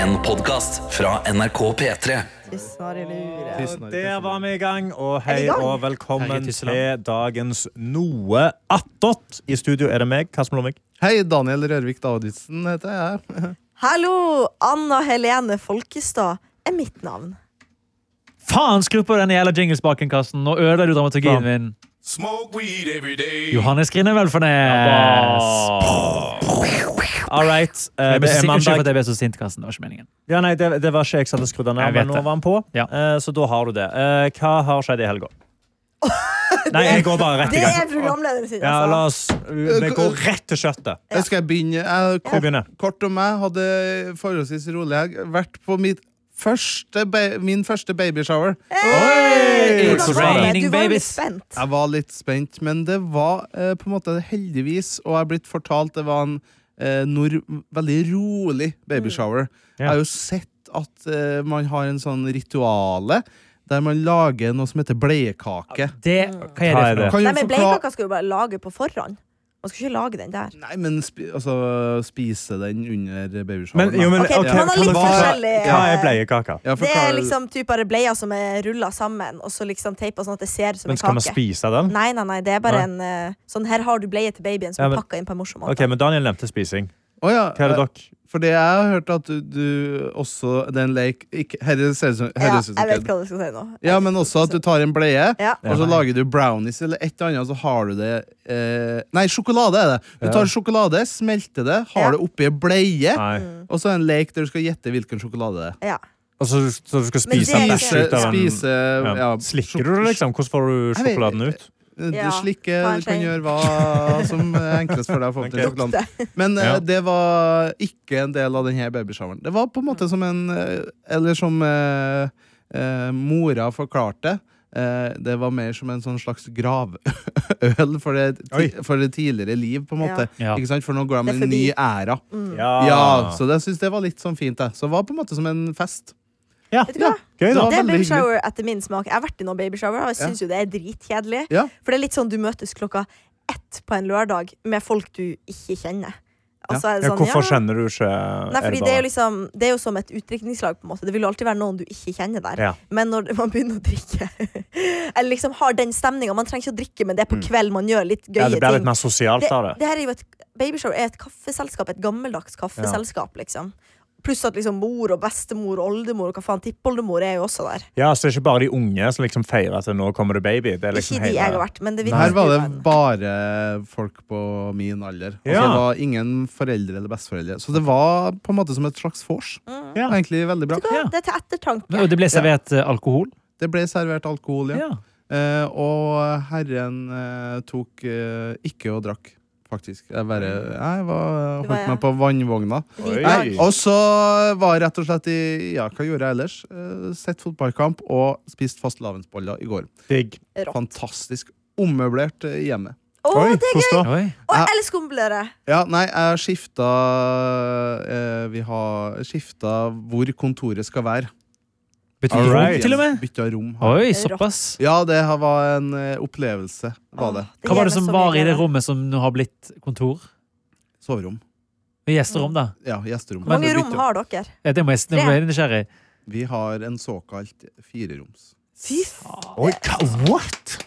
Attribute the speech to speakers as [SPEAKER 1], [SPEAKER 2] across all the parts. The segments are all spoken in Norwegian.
[SPEAKER 1] En podcast fra NRK P3
[SPEAKER 2] Tissnar i luret.
[SPEAKER 3] Og
[SPEAKER 4] Tusen takk,
[SPEAKER 3] der
[SPEAKER 4] tusen
[SPEAKER 3] var
[SPEAKER 4] takk.
[SPEAKER 3] vi i gang, og
[SPEAKER 2] Er vi
[SPEAKER 3] hei
[SPEAKER 2] i gang?
[SPEAKER 3] og velkommen
[SPEAKER 5] Hei, Tysseland.
[SPEAKER 3] til dagens Noe attåt. I studio er det meg, Karsten Blomvik.
[SPEAKER 4] Hei, Daniel Rørvik Davidsen heter jeg.
[SPEAKER 2] Hallo! Anna Helene Folkestad er mitt navn.
[SPEAKER 5] Faen, skru på den jævla jinglespaken, Karsten. Nå ødelegger du dramaturgien min.
[SPEAKER 6] Smoke weed every day.
[SPEAKER 5] Johannes Grine Velfornes.
[SPEAKER 3] All right. eh,
[SPEAKER 5] Jeg ble
[SPEAKER 3] Det
[SPEAKER 5] så
[SPEAKER 3] er
[SPEAKER 5] sint- Unnskyld for at
[SPEAKER 3] mandag.
[SPEAKER 5] jeg ble så sint, Karsten. Det var ikke meningen.
[SPEAKER 3] Ja, nei, det, det var ikke jeg som hadde skrudd den
[SPEAKER 5] Jeg
[SPEAKER 3] av,
[SPEAKER 5] vet
[SPEAKER 3] men nå
[SPEAKER 5] det.
[SPEAKER 3] var den på.
[SPEAKER 5] Ja.
[SPEAKER 3] Eh, Så da har du det. Eh, Hva har skjedd i helga? Nei, jeg går bare rett i
[SPEAKER 2] Det
[SPEAKER 3] gang.
[SPEAKER 2] er programlederen sin,
[SPEAKER 3] Ja, la
[SPEAKER 2] altså.
[SPEAKER 3] oss Vi går rett til kjøttet.
[SPEAKER 4] Skal jeg begynne? Jeg,
[SPEAKER 3] Vi
[SPEAKER 4] kort,
[SPEAKER 3] begynner.
[SPEAKER 4] kort om meg. Hadde forholdsvis rolig helg. Vært på mitt første ba min første babyshower.
[SPEAKER 2] Hvordan
[SPEAKER 5] It's
[SPEAKER 2] var det?
[SPEAKER 5] raining
[SPEAKER 2] Du var jo litt
[SPEAKER 5] babies.
[SPEAKER 2] spent.
[SPEAKER 4] Jeg var litt spent, men det var eh, på en måte heldigvis, og jeg er blitt fortalt det var en eh, nord, veldig rolig
[SPEAKER 2] Mm.
[SPEAKER 4] babyshower.
[SPEAKER 3] Ja.
[SPEAKER 4] Jeg har jo sett at eh, man har en sånn rituale der man lager noe som heter bleiekake.
[SPEAKER 5] Det, hva er det
[SPEAKER 3] Hva er
[SPEAKER 5] for noe?
[SPEAKER 4] Kan du
[SPEAKER 2] Nei, men
[SPEAKER 4] forkla-
[SPEAKER 2] Bleikaka skal du bare lage på forhånd. Man skal ikke lage den der.
[SPEAKER 4] Nei, men spi altså, spise den under
[SPEAKER 3] Men,
[SPEAKER 4] babyshoweren.
[SPEAKER 3] jo, men,
[SPEAKER 2] Ok,
[SPEAKER 3] ok,
[SPEAKER 2] man har
[SPEAKER 3] kan
[SPEAKER 2] litt
[SPEAKER 3] du forklare-
[SPEAKER 2] forskjellig-
[SPEAKER 3] Hva er bleiekaka?
[SPEAKER 4] Ja,
[SPEAKER 2] Det er
[SPEAKER 4] forklar-
[SPEAKER 2] liksom typer bleier som er rulla sammen, og så liksom teipa sånn at det ser ut som
[SPEAKER 3] Men
[SPEAKER 2] en
[SPEAKER 3] skal man
[SPEAKER 2] kake.
[SPEAKER 3] spise den?
[SPEAKER 2] Nei, nei, nei, det er bare
[SPEAKER 3] Nei.
[SPEAKER 2] en eh, Sånn, her har du bleie til babyen som
[SPEAKER 3] Ja,
[SPEAKER 2] er
[SPEAKER 3] men-
[SPEAKER 2] pakka inn på en morsom måte.
[SPEAKER 3] Ok, men Daniel nevnte spising.
[SPEAKER 4] Å ja,
[SPEAKER 3] Hva er det
[SPEAKER 4] eh,
[SPEAKER 3] dere
[SPEAKER 4] For det jeg har hørt at du, du også Det er en leik ikke, Herre ser ut som
[SPEAKER 2] ja,
[SPEAKER 4] høres ut som
[SPEAKER 2] jeg vet
[SPEAKER 4] kødd.
[SPEAKER 2] hva du skal si nå.
[SPEAKER 4] Ja, men også at du tar en bleie,
[SPEAKER 2] Ja.
[SPEAKER 4] og så lager du brownies eller et eller annet, og så har du det eh, Nei, sjokolade er det. Du tar sjokolade, smelter det, har
[SPEAKER 2] Ja.
[SPEAKER 4] det oppi en bleie,
[SPEAKER 3] Nei.
[SPEAKER 2] Mm.
[SPEAKER 4] og så er det en leik der du skal gjette hvilken sjokolade det er.
[SPEAKER 2] Ja.
[SPEAKER 3] Og så, Altså, så du skal
[SPEAKER 2] Men
[SPEAKER 3] spise
[SPEAKER 2] det er
[SPEAKER 3] en
[SPEAKER 2] jo
[SPEAKER 3] bæsj
[SPEAKER 2] ikke-
[SPEAKER 3] ut av en
[SPEAKER 4] Spise ja.
[SPEAKER 3] ja. Slikker du det, liksom? Hvordan får du
[SPEAKER 4] Jeg vet-
[SPEAKER 3] sjokoladen ut?
[SPEAKER 4] Du
[SPEAKER 2] Ja,
[SPEAKER 4] slikker,
[SPEAKER 2] ta en
[SPEAKER 4] du kan
[SPEAKER 2] skje.
[SPEAKER 4] gjøre hva som er enklest for deg. å få opp den
[SPEAKER 3] Ok.
[SPEAKER 4] sjokoladen. Men eh,
[SPEAKER 3] Ja.
[SPEAKER 4] det var ikke en del av denne babyshoweren. Det var på en måte som en eh, Eller som eh, eh, mora forklarte. eh, det var mer som en sånn slags gravøl for det, ti,
[SPEAKER 3] Oi.
[SPEAKER 4] for det tidligere liv, på en måte.
[SPEAKER 5] Ja. Ja.
[SPEAKER 4] Ikke sant? For nå går de
[SPEAKER 2] Det
[SPEAKER 4] i
[SPEAKER 2] er
[SPEAKER 4] en ny
[SPEAKER 2] forbi.
[SPEAKER 4] æra.
[SPEAKER 3] Ah.
[SPEAKER 4] Ja, Så det jeg synes det var litt sånn fint. Det. Så det var på en måte som en fest.
[SPEAKER 3] Ja.
[SPEAKER 2] Vet du hva?
[SPEAKER 3] Gøy, da.
[SPEAKER 4] var
[SPEAKER 2] Det er
[SPEAKER 4] veldig hyggelig.
[SPEAKER 2] babyshower etter min smak. Jeg har vært i noen babyshower, og jeg syns jo det er dritkjedelig.
[SPEAKER 4] Ja.
[SPEAKER 2] For det er litt sånn du møtes klokka ett på en lørdag med folk du ikke kjenner. Og så er det
[SPEAKER 3] Ja,
[SPEAKER 2] sånn,
[SPEAKER 3] hvorfor
[SPEAKER 2] ja.
[SPEAKER 3] kjenner du ikke
[SPEAKER 2] Nei,
[SPEAKER 3] er
[SPEAKER 2] fordi det er, jo liksom, det er jo som et utdrikningslag. på en måte Det vil jo alltid være noen du ikke kjenner der.
[SPEAKER 3] Ja.
[SPEAKER 2] Men når man begynner å drikke Eller liksom har den stemninga Man trenger ikke å drikke, men det er på kveld man gjør litt gøye
[SPEAKER 3] Mm. ja, Det blir
[SPEAKER 2] ting.
[SPEAKER 3] litt mer sosialt
[SPEAKER 2] det,
[SPEAKER 3] av det.
[SPEAKER 2] det her er jo et Babyshower er et kaffeselskap, et gammeldags kaffeselskap, liksom. Pluss at liksom mor og bestemor og oldemor og hva faen, tippoldemor er jo også der.
[SPEAKER 3] Ja, så det er ikke bare de unge som liksom feirer at nå kommer det baby. Det er liksom
[SPEAKER 2] ikke de jeg
[SPEAKER 3] hele-
[SPEAKER 2] har vært, men det
[SPEAKER 4] Her var det
[SPEAKER 2] virker
[SPEAKER 4] bare folk på min alder. Og
[SPEAKER 3] Ja.
[SPEAKER 4] det var ingen foreldre eller besteforeldre. Så det var på en måte som et slags vors.
[SPEAKER 2] Mm.
[SPEAKER 3] Ja.
[SPEAKER 4] Egentlig veldig bra.
[SPEAKER 2] Ja, Det er til ettertanke.
[SPEAKER 5] Og det ble servert eh, alkohol?
[SPEAKER 4] Det ble servert alkohol, ja.
[SPEAKER 5] Ja.
[SPEAKER 4] Eh, og herren eh, tok eh, ikke og drakk, faktisk. Jeg bare jeg var,
[SPEAKER 2] Du var-
[SPEAKER 4] holdt meg på vannvogna.
[SPEAKER 2] Vi-
[SPEAKER 3] Oi.
[SPEAKER 4] Nei, og så var jeg rett og slett i Ja, hva gjorde jeg ellers? Eh, sett fotballkamp og spist fastelavnsboller i går.
[SPEAKER 3] Digg.
[SPEAKER 2] Rått.
[SPEAKER 4] Fantastisk. Ommøblert eh, hjemme.
[SPEAKER 2] Å,
[SPEAKER 3] Oi,
[SPEAKER 2] det er gøy!
[SPEAKER 3] forstå.
[SPEAKER 5] Oi.
[SPEAKER 2] Å, jeg elsker omblere!
[SPEAKER 4] Ja, nei, jeg skifta eh, Vi har skifta hvor kontoret skal være.
[SPEAKER 5] Betyr det
[SPEAKER 3] Alright.
[SPEAKER 5] rom, til og med?
[SPEAKER 4] Bytta rom. her.
[SPEAKER 5] Oi, såpass.
[SPEAKER 4] Ja, det her var en eh, opplevelse, var det.
[SPEAKER 2] Åh, gir
[SPEAKER 5] Hva var det
[SPEAKER 2] meg
[SPEAKER 5] som
[SPEAKER 2] så
[SPEAKER 5] var
[SPEAKER 2] mye
[SPEAKER 5] i det
[SPEAKER 2] glede.
[SPEAKER 5] rommet som nå har blitt kontor?
[SPEAKER 4] Soverom.
[SPEAKER 5] Gjesterom, da?
[SPEAKER 4] Ja, gjesterom.
[SPEAKER 2] Hvor mange
[SPEAKER 4] Bytte
[SPEAKER 2] rom
[SPEAKER 4] opp.
[SPEAKER 2] har dere?
[SPEAKER 5] Eh, Det må jeg, det må jeg nysgjerrig.
[SPEAKER 4] Vi har en såkalt fireroms.
[SPEAKER 2] Fy
[SPEAKER 3] Oi, hva- what?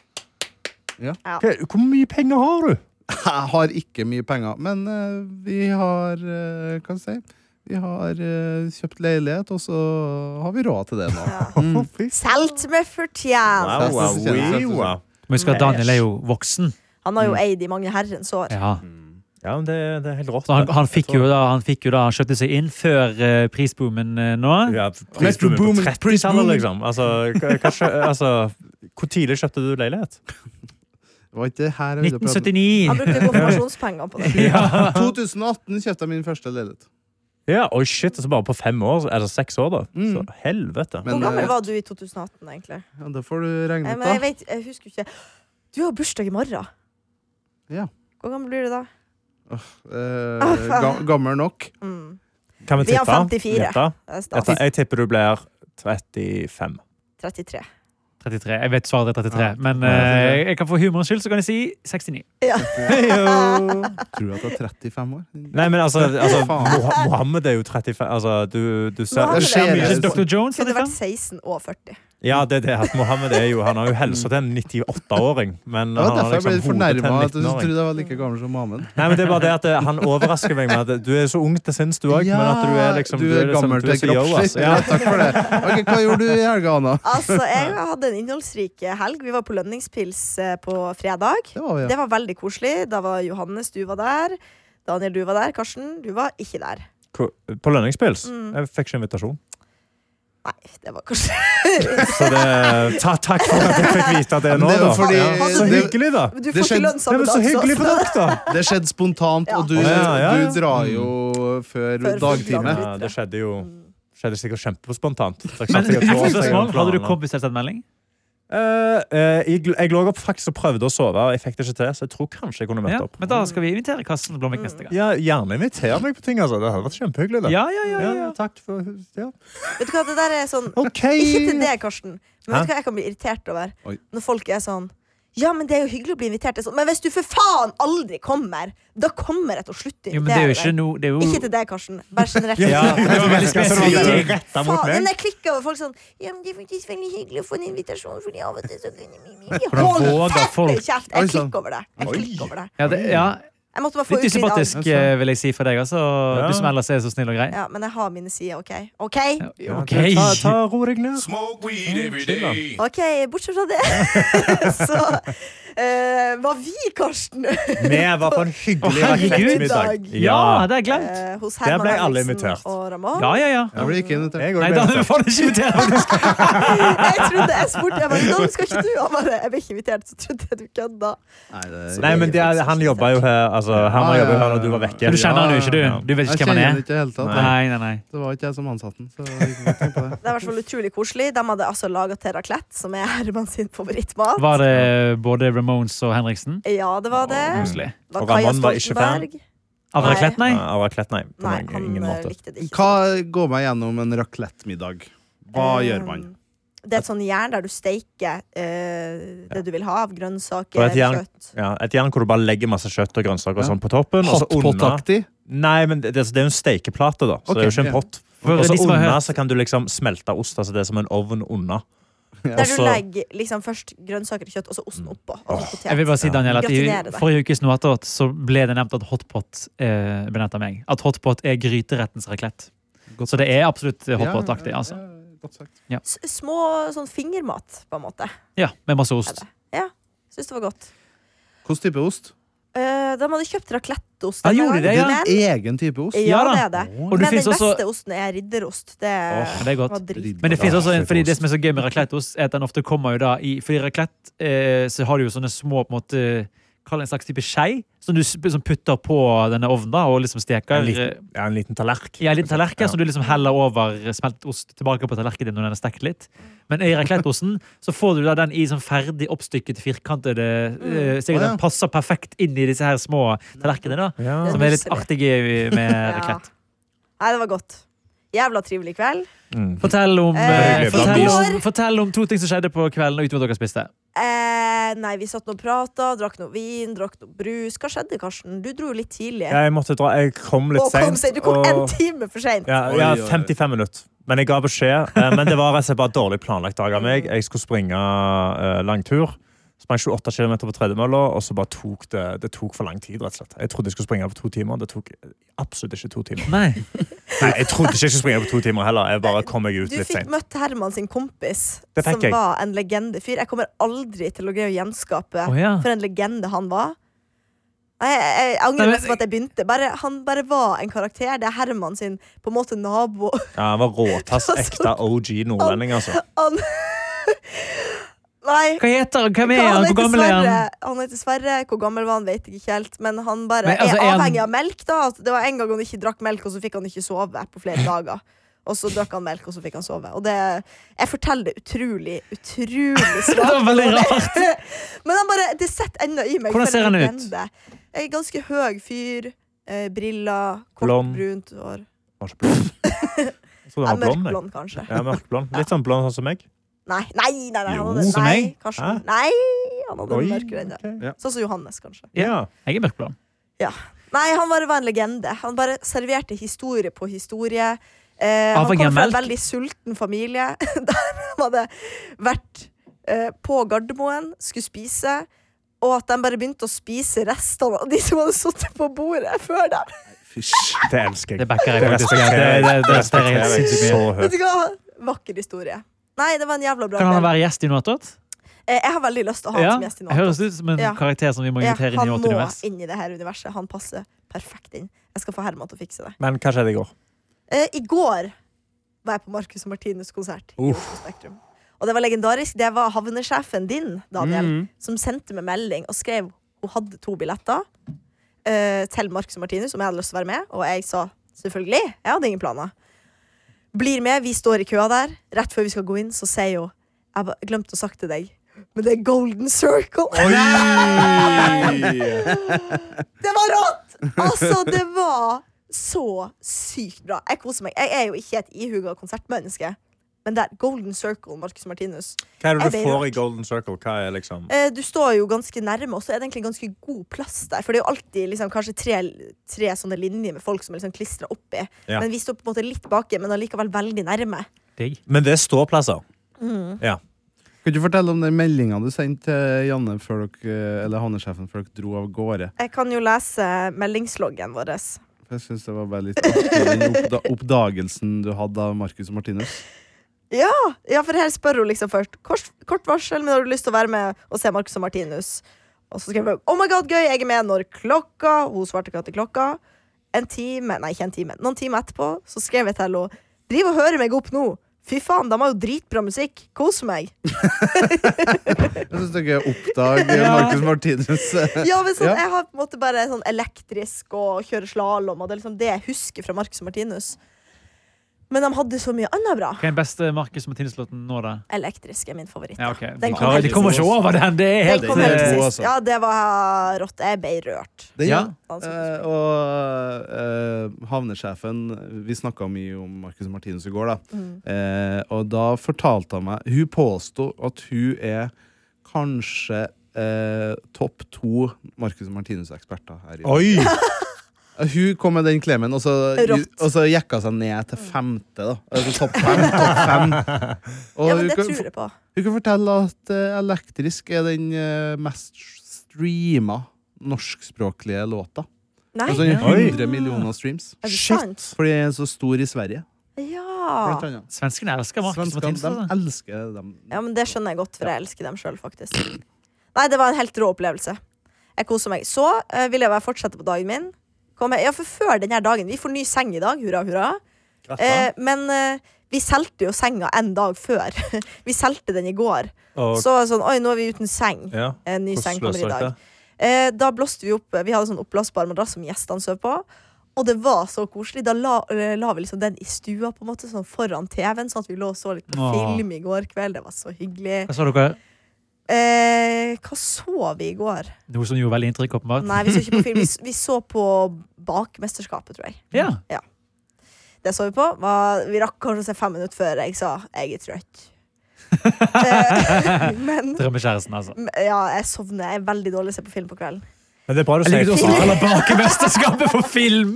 [SPEAKER 4] Ja.
[SPEAKER 2] Ja.
[SPEAKER 3] Hva- Hvor mye penger har du?
[SPEAKER 4] Jeg har ikke mye penger, men eh, vi har eh, Hva skal jeg si? Vi har eh, kjøpt leilighet, og så har vi råd til det nå. Mm.
[SPEAKER 3] Å, fy s-
[SPEAKER 2] Solgt med fortjent!
[SPEAKER 3] Wow, wow,
[SPEAKER 4] Kjennes ut som-
[SPEAKER 3] wow.
[SPEAKER 5] Men husk at Daniel er jo voksen.
[SPEAKER 2] Han har jo eid i mange herrens år.
[SPEAKER 5] Ja.
[SPEAKER 3] Ja, men det, det er helt rått.
[SPEAKER 5] Så han,
[SPEAKER 3] det.
[SPEAKER 5] han, fikk jo da, han fikk jo da Han kjøpte seg inn før eh, prisboomen eh, nå.
[SPEAKER 3] Ja, prisboomen på
[SPEAKER 4] Boom,
[SPEAKER 3] 30-tallet,
[SPEAKER 4] boom.
[SPEAKER 3] liksom. Altså, hva- hva skjø- altså, hvor tidlig kjøpte du leilighet?
[SPEAKER 4] Det var ikke det her jeg ville prate om.
[SPEAKER 5] 1979.
[SPEAKER 2] Han brukte konfirmasjonspengene på det.
[SPEAKER 5] Ja.
[SPEAKER 4] 2018 kjøpte jeg min første leilighet.
[SPEAKER 3] Ja, oi shit, altså bare på fem år, eller seks år da.
[SPEAKER 4] Mm.
[SPEAKER 3] Så helvete.
[SPEAKER 4] Men-
[SPEAKER 2] Hvor gammel
[SPEAKER 4] eh,
[SPEAKER 2] var du i 2018, egentlig?
[SPEAKER 4] Ja, det får du regne
[SPEAKER 2] Nei,
[SPEAKER 4] ut,
[SPEAKER 2] men jeg,
[SPEAKER 4] da.
[SPEAKER 2] vet, jeg husker ikke. Du har bursdag i morgen.
[SPEAKER 4] Ja.
[SPEAKER 2] Hvor gammel blir du da?
[SPEAKER 4] Eh, ga gammel nok.
[SPEAKER 2] Mm.
[SPEAKER 3] kan vi
[SPEAKER 2] vi
[SPEAKER 3] tippe?
[SPEAKER 2] har 54.
[SPEAKER 3] Gjette?
[SPEAKER 2] Det er
[SPEAKER 3] Jeg,
[SPEAKER 2] stas.
[SPEAKER 3] jeg tipper du blir 35.
[SPEAKER 2] 33.
[SPEAKER 5] 33. Jeg vet svaret er 33,
[SPEAKER 4] Ja.
[SPEAKER 5] men
[SPEAKER 4] Ja, jeg
[SPEAKER 5] eh, jeg kan for humorens skyld så kan jeg si 69.
[SPEAKER 4] Tror du at du er 35 år?
[SPEAKER 3] Nei, men altså, altså
[SPEAKER 4] Faen.
[SPEAKER 3] Moha- Mohammed er jo 35 Altså, du, du sa
[SPEAKER 2] Mohammed
[SPEAKER 4] skjer
[SPEAKER 2] er-
[SPEAKER 4] det.
[SPEAKER 5] Ikke Dr. Jones?
[SPEAKER 2] Kunne vært
[SPEAKER 5] 35?
[SPEAKER 2] 16 og 40.
[SPEAKER 3] Ja, det er det at Mohammed er jo Han har jo helsa til en 98-åring, men
[SPEAKER 4] Det var
[SPEAKER 3] han har
[SPEAKER 4] derfor jeg
[SPEAKER 3] liksom
[SPEAKER 4] ble
[SPEAKER 3] hodet
[SPEAKER 4] litt
[SPEAKER 3] til
[SPEAKER 4] fornærma.
[SPEAKER 3] en
[SPEAKER 4] At du trodde
[SPEAKER 3] 19-åring.
[SPEAKER 4] jeg var like gammel som Amund.
[SPEAKER 3] Nei, men det er bare det at eh, han overrasker meg med at du er så ung til sinns, du òg, men at du er liksom
[SPEAKER 4] du er
[SPEAKER 3] liksom-
[SPEAKER 4] gammel
[SPEAKER 3] du er
[SPEAKER 4] til
[SPEAKER 3] så yo, ass.
[SPEAKER 4] kroppslig. Ja,
[SPEAKER 3] Ja.
[SPEAKER 4] takk for det. Ok, Hva gjorde du i helga, Anna?
[SPEAKER 2] Altså, jeg hadde en innholdsrik helg. Vi var på lønningspils eh, på fredag.
[SPEAKER 4] Det var vi,
[SPEAKER 2] Det var veldig koselig. Da var Johannes, du var der. Daniel, du var der. Karsten, du var ikke der.
[SPEAKER 3] Ko- På lønningspils?
[SPEAKER 2] Mm.
[SPEAKER 3] Jeg fikk ikke invitasjon.
[SPEAKER 2] Nei, det var kanskje
[SPEAKER 3] Så det, ta, takk for at jeg fikk vite det
[SPEAKER 4] Men
[SPEAKER 3] nå,
[SPEAKER 4] det er jo
[SPEAKER 3] da.
[SPEAKER 4] fordi-
[SPEAKER 3] ja. Så
[SPEAKER 4] det-
[SPEAKER 3] hyggelig, da.
[SPEAKER 2] Men Du
[SPEAKER 4] Det
[SPEAKER 2] får ikke
[SPEAKER 4] skjedde-
[SPEAKER 2] lønn
[SPEAKER 3] Nei,
[SPEAKER 2] samme
[SPEAKER 3] men så
[SPEAKER 2] dag, så-
[SPEAKER 3] hyggelig for dere, da.
[SPEAKER 4] Det skjedde spontant, og du,
[SPEAKER 3] Ja. Ja, ja, ja.
[SPEAKER 4] du drar jo før
[SPEAKER 2] Før
[SPEAKER 4] dagtime.
[SPEAKER 2] full
[SPEAKER 3] Ja, det skjedde jo
[SPEAKER 2] Mm.
[SPEAKER 3] skjedde sikkert kjempespontant. Så jeg satt
[SPEAKER 5] Men
[SPEAKER 3] sikkert to år siden jeg
[SPEAKER 5] spørsmål, hadde du
[SPEAKER 3] planla.
[SPEAKER 5] cowboyselvstendig-melding?
[SPEAKER 3] Eh, eh, jeg, gl- jeg lå opp faktisk og prøvde å sove, og jeg fikk det ikke til. Så jeg tror kanskje jeg kunne møtt
[SPEAKER 5] Ja,
[SPEAKER 3] opp.
[SPEAKER 5] men da skal vi invitere Karsten Blomvik neste gang.
[SPEAKER 3] Ja, Gjerne inviter meg på ting. altså Det hadde vært kjempehyggelig. det.
[SPEAKER 5] Ja, ja, ja, ja,
[SPEAKER 3] Ja,
[SPEAKER 5] ja.
[SPEAKER 3] takk for ja.
[SPEAKER 2] Vet du hva, det der er sånn
[SPEAKER 3] OK!
[SPEAKER 2] Ikke til det, Karsten. Men
[SPEAKER 3] Hæ?
[SPEAKER 2] vet du hva jeg kan bli irritert over?
[SPEAKER 4] Oi.
[SPEAKER 2] Når folk er sånn ja, men det er jo hyggelig å bli invitert. Det er Sånn. Men hvis du for faen aldri kommer, da kommer jeg til å slutte å
[SPEAKER 5] Jo, men det er jo
[SPEAKER 2] invitere
[SPEAKER 5] ikke
[SPEAKER 2] deg.
[SPEAKER 5] noe det er jo...
[SPEAKER 2] Ikke til deg, Karsten. Bare generelt.
[SPEAKER 3] Ja, det var veldig
[SPEAKER 5] spesifikt.
[SPEAKER 3] Rettet mot
[SPEAKER 2] Faen,
[SPEAKER 3] meg.
[SPEAKER 2] men jeg klikker over folk sånn Ja, men det er faktisk veldig hyggelig å få en invitasjon, fordi av og til så kunne vi- vi- vi- Hold
[SPEAKER 5] Hvordan våger folk?
[SPEAKER 2] fett i kjeft!
[SPEAKER 4] Oi,
[SPEAKER 2] Jeg
[SPEAKER 4] sant.
[SPEAKER 2] klikker over det. Jeg
[SPEAKER 3] Oi.
[SPEAKER 2] klikker over det.
[SPEAKER 5] Ja, det, ja,
[SPEAKER 2] Jeg måtte bare få ut
[SPEAKER 5] litt
[SPEAKER 2] litt av
[SPEAKER 5] usympatisk, eh, vil jeg si, for deg. Altså.
[SPEAKER 3] Ja.
[SPEAKER 5] Du som ellers er så snill og grei.
[SPEAKER 2] Ja, men jeg har mine sider, OK? OK,
[SPEAKER 3] Ja,
[SPEAKER 5] Ok.
[SPEAKER 3] Ta, ta Ro deg ned.
[SPEAKER 6] Smoke weed every
[SPEAKER 3] chill, da.
[SPEAKER 6] day.
[SPEAKER 2] Ok, bortsett fra det, så eh, var vi, Karsten,
[SPEAKER 3] Vi var på en hyggelig
[SPEAKER 5] herregud.
[SPEAKER 3] rakettmiddag.
[SPEAKER 5] Ja, det er glemt!
[SPEAKER 2] eh, hos
[SPEAKER 3] Der
[SPEAKER 2] Herman
[SPEAKER 3] ble alle
[SPEAKER 2] Henriksen
[SPEAKER 3] invitert.
[SPEAKER 2] og Ramón.
[SPEAKER 5] Ja, ja, ja.
[SPEAKER 4] Jeg blir ikke invitert.
[SPEAKER 3] Jeg
[SPEAKER 5] Nei,
[SPEAKER 3] òg
[SPEAKER 5] da
[SPEAKER 3] ble
[SPEAKER 5] får du ikke invitere meg.
[SPEAKER 2] Jeg trodde jeg spurte Jeg bare, «Nå skal ikke du? Han bare, jeg ble ikke invitert, så trodde jeg du kødda.
[SPEAKER 4] Nei, det
[SPEAKER 3] Nei, men det er, han jobba jo her altså, Han
[SPEAKER 4] Ja, ja,
[SPEAKER 3] jobba jo her
[SPEAKER 4] ja.
[SPEAKER 3] når du var vekke.
[SPEAKER 5] Du kjenner han jo ikke,
[SPEAKER 3] Ja.
[SPEAKER 5] du. Du vet
[SPEAKER 4] Jeg
[SPEAKER 5] ikke hvem han
[SPEAKER 4] kjenner han
[SPEAKER 5] er.
[SPEAKER 4] ikke i det hele tatt.
[SPEAKER 5] Nei, nei, nei.
[SPEAKER 4] Det var ikke jeg som ansatte den. Så jeg kan ikke tenke på det.
[SPEAKER 2] Det er i hvert fall utrolig koselig. De hadde altså laga terraklett, som er Herman sin favorittmat.
[SPEAKER 5] Var det både Ramones og Henriksen?
[SPEAKER 2] Ja, det var det.
[SPEAKER 5] Koselig.
[SPEAKER 2] Det var
[SPEAKER 3] Og
[SPEAKER 2] Kaja
[SPEAKER 3] Ramón var ikke fan?
[SPEAKER 2] Stoltenberg.
[SPEAKER 5] Av
[SPEAKER 2] Nei.
[SPEAKER 5] Raclette, nei?
[SPEAKER 3] Ja, av raclette, nei. På
[SPEAKER 2] Nei,
[SPEAKER 3] mange-
[SPEAKER 2] han
[SPEAKER 3] ingen
[SPEAKER 2] eh,
[SPEAKER 3] måte.
[SPEAKER 2] likte det ikke.
[SPEAKER 4] Hva går meg gjennom en raclette-middag? Hva gjør man?
[SPEAKER 2] Eh, Det er et sånn jern der du steiker eh, det du vil ha av
[SPEAKER 3] Og et
[SPEAKER 2] grønnsaker,
[SPEAKER 3] jern-
[SPEAKER 2] kjøtt.
[SPEAKER 3] Ja, Et jern hvor du bare legger masse kjøtt og grønnsaker og sånn på toppen. og så under-
[SPEAKER 4] Hotpot-aktig?
[SPEAKER 3] Nei, men det, det er jo en steikeplate, da. Så det er jo
[SPEAKER 4] Ok,
[SPEAKER 3] ikke
[SPEAKER 4] ja.
[SPEAKER 3] en pott.
[SPEAKER 5] For
[SPEAKER 3] Og så
[SPEAKER 5] de som har
[SPEAKER 3] unna
[SPEAKER 5] hørt-
[SPEAKER 3] så kan du liksom smelte ost. Altså det er som en ovn unna.
[SPEAKER 2] Der du
[SPEAKER 3] Også-
[SPEAKER 2] legger liksom først grønnsaker og kjøtt, og så osten
[SPEAKER 3] Mm.
[SPEAKER 2] oppå. Og så potet.
[SPEAKER 5] Jeg vil bare si, Daniel, at
[SPEAKER 2] Gratinerer
[SPEAKER 5] I
[SPEAKER 2] deg.
[SPEAKER 5] forrige ukes Noatot så ble det nevnt at hotpot eh, ble nevnt av meg. At hotpot er gryterettens raclette.
[SPEAKER 4] Godt
[SPEAKER 5] Så det er absolutt eh,
[SPEAKER 4] Ja,
[SPEAKER 5] hotpot-aktig.
[SPEAKER 4] ja,
[SPEAKER 5] Altså.
[SPEAKER 4] ja, godt sagt.
[SPEAKER 2] S- Små sånn fingermat, på en måte.
[SPEAKER 5] Ja, med masse ost.
[SPEAKER 2] Syns det var godt.
[SPEAKER 4] Hvilken type ost?
[SPEAKER 2] Eh, de hadde kjøpt racletteost. denne
[SPEAKER 5] Ja, Ah, gjorde de det,
[SPEAKER 2] gangen,
[SPEAKER 5] ja?
[SPEAKER 2] Men,
[SPEAKER 4] Egen type ost?
[SPEAKER 2] ja,
[SPEAKER 5] Ja da.
[SPEAKER 2] det er det.
[SPEAKER 5] Og
[SPEAKER 2] Men
[SPEAKER 5] det
[SPEAKER 2] den
[SPEAKER 5] finnes også
[SPEAKER 2] beste osten er ridderost. Det,
[SPEAKER 5] Åh, det er godt.
[SPEAKER 2] var drit.
[SPEAKER 5] Men det finnes også en,
[SPEAKER 3] Racletteost.
[SPEAKER 5] fordi det som er så gøy med racletteost, er at den ofte kommer jo da i Fordi raclette eh, så har du jo sånne små på en måte Kall det en slags type skei som du s- som putter på denne ovnen da, og liksom steker.
[SPEAKER 3] En liten, ja, en liten tallerken.
[SPEAKER 5] Ja, en liten tallerken
[SPEAKER 3] Ja.
[SPEAKER 5] som du liksom heller over smeltet ost tilbake på tallerkenen din når den er stekt litt. Men i racletteosten så får du da den i sånn ferdig oppstykket, firkantede eh, Så
[SPEAKER 4] Å, ja.
[SPEAKER 5] den passer perfekt inn i disse her små tallerkenene, da.
[SPEAKER 3] Ja.
[SPEAKER 5] Som er litt artige med
[SPEAKER 2] Ja.
[SPEAKER 5] raclette.
[SPEAKER 2] Nei, det var godt. Jævla trivelig kveld.
[SPEAKER 3] Mm.
[SPEAKER 5] Fortell om,
[SPEAKER 2] Eh,
[SPEAKER 5] eh, fortell,
[SPEAKER 2] i
[SPEAKER 5] om,
[SPEAKER 2] går-
[SPEAKER 5] fortell om to ting som skjedde på kvelden og utenom at dere spiste.
[SPEAKER 2] Eh, nei, vi satt nå og prata, drakk noe vin, drakk noe brus. Hva skjedde, Karsten? Du dro jo litt tidlig.
[SPEAKER 3] Ja, Jeg måtte dra. Jeg kom litt
[SPEAKER 2] Å, kom sent.
[SPEAKER 3] seint.
[SPEAKER 2] Du kom en time for seint.
[SPEAKER 3] Ja,
[SPEAKER 4] Oi,
[SPEAKER 3] ja,
[SPEAKER 4] oi, oi.
[SPEAKER 3] 55 minutter. Men jeg ga beskjed. Eh, Men det var rett og slett bare dårlig planlagt dag av meg. Jeg skulle springe eh, langtur. Sprang 28 km på tredemølla, og så bare tok det, det tok for lang tid. rett og slett. Jeg trodde jeg skulle springe på to timer. Det tok absolutt ikke to timer.
[SPEAKER 5] Nei.
[SPEAKER 3] Nei, jeg trodde ikke jeg skulle springe på to timer heller. Jeg bare kom meg ut
[SPEAKER 2] Du
[SPEAKER 3] litt
[SPEAKER 2] fikk
[SPEAKER 3] sent.
[SPEAKER 2] møtt Herman sin kompis,
[SPEAKER 3] Det fikk
[SPEAKER 2] som
[SPEAKER 3] jeg.
[SPEAKER 2] var en legendefyr. Jeg kommer aldri til å greie å gjenskape
[SPEAKER 5] Å, ja.
[SPEAKER 2] for en legende han var. Nei, Jeg, jeg, jeg
[SPEAKER 5] Nei,
[SPEAKER 2] angrer
[SPEAKER 5] men-
[SPEAKER 2] nesten på at jeg begynte. Bare, han bare var en karakter. Det er Herman sin på en måte nabo.
[SPEAKER 3] Ja, Han var råtass ekte OG nordlending, altså.
[SPEAKER 2] Han Nei.
[SPEAKER 5] Hva heter han? Hvem er
[SPEAKER 2] Han
[SPEAKER 5] han?
[SPEAKER 2] heter,
[SPEAKER 5] Hvor gammel er
[SPEAKER 2] Sverre.
[SPEAKER 5] han?
[SPEAKER 2] han heter Sverre. Hvor gammel var han, vet jeg ikke helt. Men han bare
[SPEAKER 5] Men, altså,
[SPEAKER 2] er
[SPEAKER 5] er han-
[SPEAKER 2] avhengig av melk. da At Det var en gang han ikke drakk melk, og så fikk han ikke sove på flere dager. Og så drakk han melk, og så fikk han sove. Og det, jeg forteller det utrolig, utrolig
[SPEAKER 5] Det
[SPEAKER 2] svakt.
[SPEAKER 5] var veldig rart.
[SPEAKER 2] Men han bare, det setter ennå i meg.
[SPEAKER 5] Hvordan
[SPEAKER 2] for
[SPEAKER 5] ser
[SPEAKER 2] en
[SPEAKER 5] han ut?
[SPEAKER 2] legende. En ganske høy fyr. Eh, briller. Kort,
[SPEAKER 3] Blond.
[SPEAKER 2] brunt hår.
[SPEAKER 3] Han var ikke blond. Jeg trodde
[SPEAKER 2] Ja,
[SPEAKER 3] han var blond. jeg.
[SPEAKER 2] Mørkblond, kanskje.
[SPEAKER 3] Ja, mørkblond. Litt sånn blond sånn som meg.
[SPEAKER 2] Nei, nei, nei, nei, han
[SPEAKER 3] Jo,
[SPEAKER 2] hadde,
[SPEAKER 3] som
[SPEAKER 2] nei,
[SPEAKER 3] jeg.
[SPEAKER 2] Karsten.
[SPEAKER 3] Hæ?
[SPEAKER 2] Nei, han hadde
[SPEAKER 3] Oi,
[SPEAKER 2] mørkere enn det.
[SPEAKER 3] ok.
[SPEAKER 2] Sånn som Johannes, kanskje.
[SPEAKER 3] Ja.
[SPEAKER 5] Jeg er mørkblå.
[SPEAKER 2] Nei, han bare var en legende. Han bare serverte historie på historie. Eh,
[SPEAKER 5] Avhengig
[SPEAKER 2] han kom
[SPEAKER 5] av
[SPEAKER 2] fra en
[SPEAKER 5] melk?
[SPEAKER 2] veldig sulten familie der han hadde vært eh, på Gardermoen, skulle spise, og at de bare begynte å spise restene av de som hadde sittet på bordet før dem.
[SPEAKER 4] Fysj.
[SPEAKER 3] Det elsker jeg.
[SPEAKER 5] Det backer jeg
[SPEAKER 3] Det
[SPEAKER 5] faktisk. Ja, det, det, det, det,
[SPEAKER 3] respekterer
[SPEAKER 5] det,
[SPEAKER 3] jeg så høyt.
[SPEAKER 2] Vet du hva? Vakker historie. Nei, det var en jævla bra
[SPEAKER 5] Kan han
[SPEAKER 2] kveld.
[SPEAKER 5] være gjest i noe annet?
[SPEAKER 2] Eh, jeg har veldig lyst til å ha
[SPEAKER 5] Ja,
[SPEAKER 2] han som gjest i noe.
[SPEAKER 5] høres ut som en
[SPEAKER 2] Ja.
[SPEAKER 5] karakter som vi må
[SPEAKER 2] Ja,
[SPEAKER 5] invitere inn i
[SPEAKER 2] han
[SPEAKER 5] vårt
[SPEAKER 2] må
[SPEAKER 5] univers.
[SPEAKER 2] inn i det her universet. Han passer perfekt inn. Jeg skal få Herman til å fikse det.
[SPEAKER 3] Men hva skjedde i går?
[SPEAKER 2] Eh, I går var jeg på Marcus og Martinus konsert. i Oslo Spektrum. Og det var legendarisk. Det var havnesjefen din, Daniel, som sendte meg melding og skrev hun hadde to billetter eh, til Marcus og Martinus, om jeg hadde lyst til å være med. Og jeg sa selvfølgelig. Jeg hadde ingen planer. Blir med. Vi står i køa der. Rett før vi skal gå inn, så sier hun Jeg ba- glemte å sagt til deg, men det er Golden Circle. Det var rått! Altså, det var så sykt bra. Jeg koser meg. Jeg er jo ikke et ihuga konsertmenneske. Men det er Golden Circle, Marcus Martinus.
[SPEAKER 3] Hva er det
[SPEAKER 2] Jeg
[SPEAKER 3] du
[SPEAKER 2] vet
[SPEAKER 3] får i Golden Circle? Hva er liksom
[SPEAKER 2] Eh, Du står jo ganske nærme, og så er det egentlig ganske god plass der. For det er jo alltid liksom, kanskje tre, tre sånne linjer med folk som er liksom klistra oppi.
[SPEAKER 3] Ja.
[SPEAKER 2] Men vi står på en måte litt baki, men allikevel veldig nærme.
[SPEAKER 5] Digg.
[SPEAKER 3] Men det er ståplasser.
[SPEAKER 2] Mm.
[SPEAKER 3] Ja.
[SPEAKER 4] Kan du fortelle om den meldinga du sendte til Janne før dere, eller Hanne-sjefen før dere dro av gårde?
[SPEAKER 2] Jeg kan jo lese meldingsloggen vår.
[SPEAKER 4] For jeg syns det var bare litt artig, den oppda oppdagelsen du hadde av Marcus og Martinus.
[SPEAKER 2] Ja, for her spør hun liksom først kort, kort varsel, men har du lyst til å være med og se Marcus og Martinus? Og så skrev hun Oh my god, gøy, jeg er med når klokka Hun svarte ikke til klokka. En time, nei, ikke en time, noen timer etterpå så skrev jeg til henne Driv og hører meg opp nå. Fy faen, de har jo dritbra musikk. Kos meg.
[SPEAKER 4] Jeg syns dere oppdager
[SPEAKER 5] Ja.
[SPEAKER 4] Marcus og Martinus.
[SPEAKER 2] Ja, men sånn,
[SPEAKER 4] Ja.
[SPEAKER 2] Jeg har på en måte bare sånn elektrisk og kjører slalåm, og det er liksom det jeg husker fra Marcus og Martinus. Men de hadde så mye annet bra.
[SPEAKER 5] Hva er den beste Markus Martinus-låten nå, da?
[SPEAKER 2] Elektrisk er min favoritt. da.
[SPEAKER 5] Ja, ok.
[SPEAKER 2] Den
[SPEAKER 5] Vi
[SPEAKER 2] kom
[SPEAKER 5] klarer-
[SPEAKER 2] helt
[SPEAKER 5] De kommer ikke over den! Det er helt
[SPEAKER 2] Den kom helt
[SPEAKER 5] eh,
[SPEAKER 2] til
[SPEAKER 4] god,
[SPEAKER 2] sist.
[SPEAKER 4] altså.
[SPEAKER 2] Ja, det var rått. Jeg ble rørt.
[SPEAKER 4] Den,
[SPEAKER 5] Ja.
[SPEAKER 4] ja. Eh, og eh, havnesjefen Vi snakka mye om Marcus og Martinus i går, da. Eh, og da fortalte han meg Hun påsto at hun er kanskje eh, topp to Marcus og Martinus-eksperter her i Norge.
[SPEAKER 3] Oi!
[SPEAKER 4] Hun kom med den klemmen, og så,
[SPEAKER 2] Rått.
[SPEAKER 4] og så jekka seg ned til femte. da Altså topp fem, topp fem. Og
[SPEAKER 2] Ja, men
[SPEAKER 4] hun,
[SPEAKER 2] det
[SPEAKER 4] kan,
[SPEAKER 2] tror jeg på.
[SPEAKER 4] hun kan fortelle at eh, Elektrisk er den eh, mest streama norskspråklige låta.
[SPEAKER 2] Nei,
[SPEAKER 4] Altså den
[SPEAKER 3] Oi.
[SPEAKER 4] 100 millioner streams.
[SPEAKER 2] er det sant?
[SPEAKER 4] Fordi den er så stor i Sverige.
[SPEAKER 2] Ja.
[SPEAKER 4] Blant annet.
[SPEAKER 5] Svenskene elsker Markus
[SPEAKER 4] Svenskene
[SPEAKER 5] Martinus.
[SPEAKER 4] de
[SPEAKER 5] altså.
[SPEAKER 4] elsker dem.
[SPEAKER 2] ja, men det skjønner jeg godt, for jeg elsker dem sjøl, faktisk. Nei, det var en helt rå opplevelse. Jeg koser meg. Så eh, vil jeg bare fortsette på dagen min. Kom jeg, ja, for før denne dagen Vi får ny seng i dag, hurra, hurra. Eh, men eh, vi solgte jo senga en dag før. vi solgte den i går.
[SPEAKER 3] Og,
[SPEAKER 2] Så var det sånn, oi, nå er vi uten seng.
[SPEAKER 3] ja.
[SPEAKER 2] En ny
[SPEAKER 3] Hvordan
[SPEAKER 2] seng kommer i
[SPEAKER 3] løser dere
[SPEAKER 2] dag. Eh, da blåste vi opp Vi hadde sånn oppblåsbar madrass som gjestene sov på. Og det var så koselig. Da la, eh, la vi liksom den i stua på en måte sånn foran TV-en, sånn at vi lå og så litt på
[SPEAKER 5] Åh.
[SPEAKER 2] film i går kveld. Det var så hyggelig.
[SPEAKER 5] Hva sa dere?
[SPEAKER 2] Eh, hva så vi i går?
[SPEAKER 5] Noe som gjorde veldig inntrykk, åpenbart?
[SPEAKER 2] Nei, vi så ikke på film. Vi, s- vi så på Bakmesterskapet, tror jeg.
[SPEAKER 5] Ja.
[SPEAKER 2] Det så vi på. Var, vi rakk kanskje å se fem minutter før jeg sa jeg er trøtt. eh, men
[SPEAKER 5] Drømmekjæresten, altså.
[SPEAKER 2] ja, jeg sovner. Jeg er veldig dårlig til å se på film på kvelden.
[SPEAKER 3] Men det er bra du
[SPEAKER 5] Jeg
[SPEAKER 3] sier
[SPEAKER 5] liker
[SPEAKER 3] det.
[SPEAKER 5] det også. Eller bakemesterskapet for film!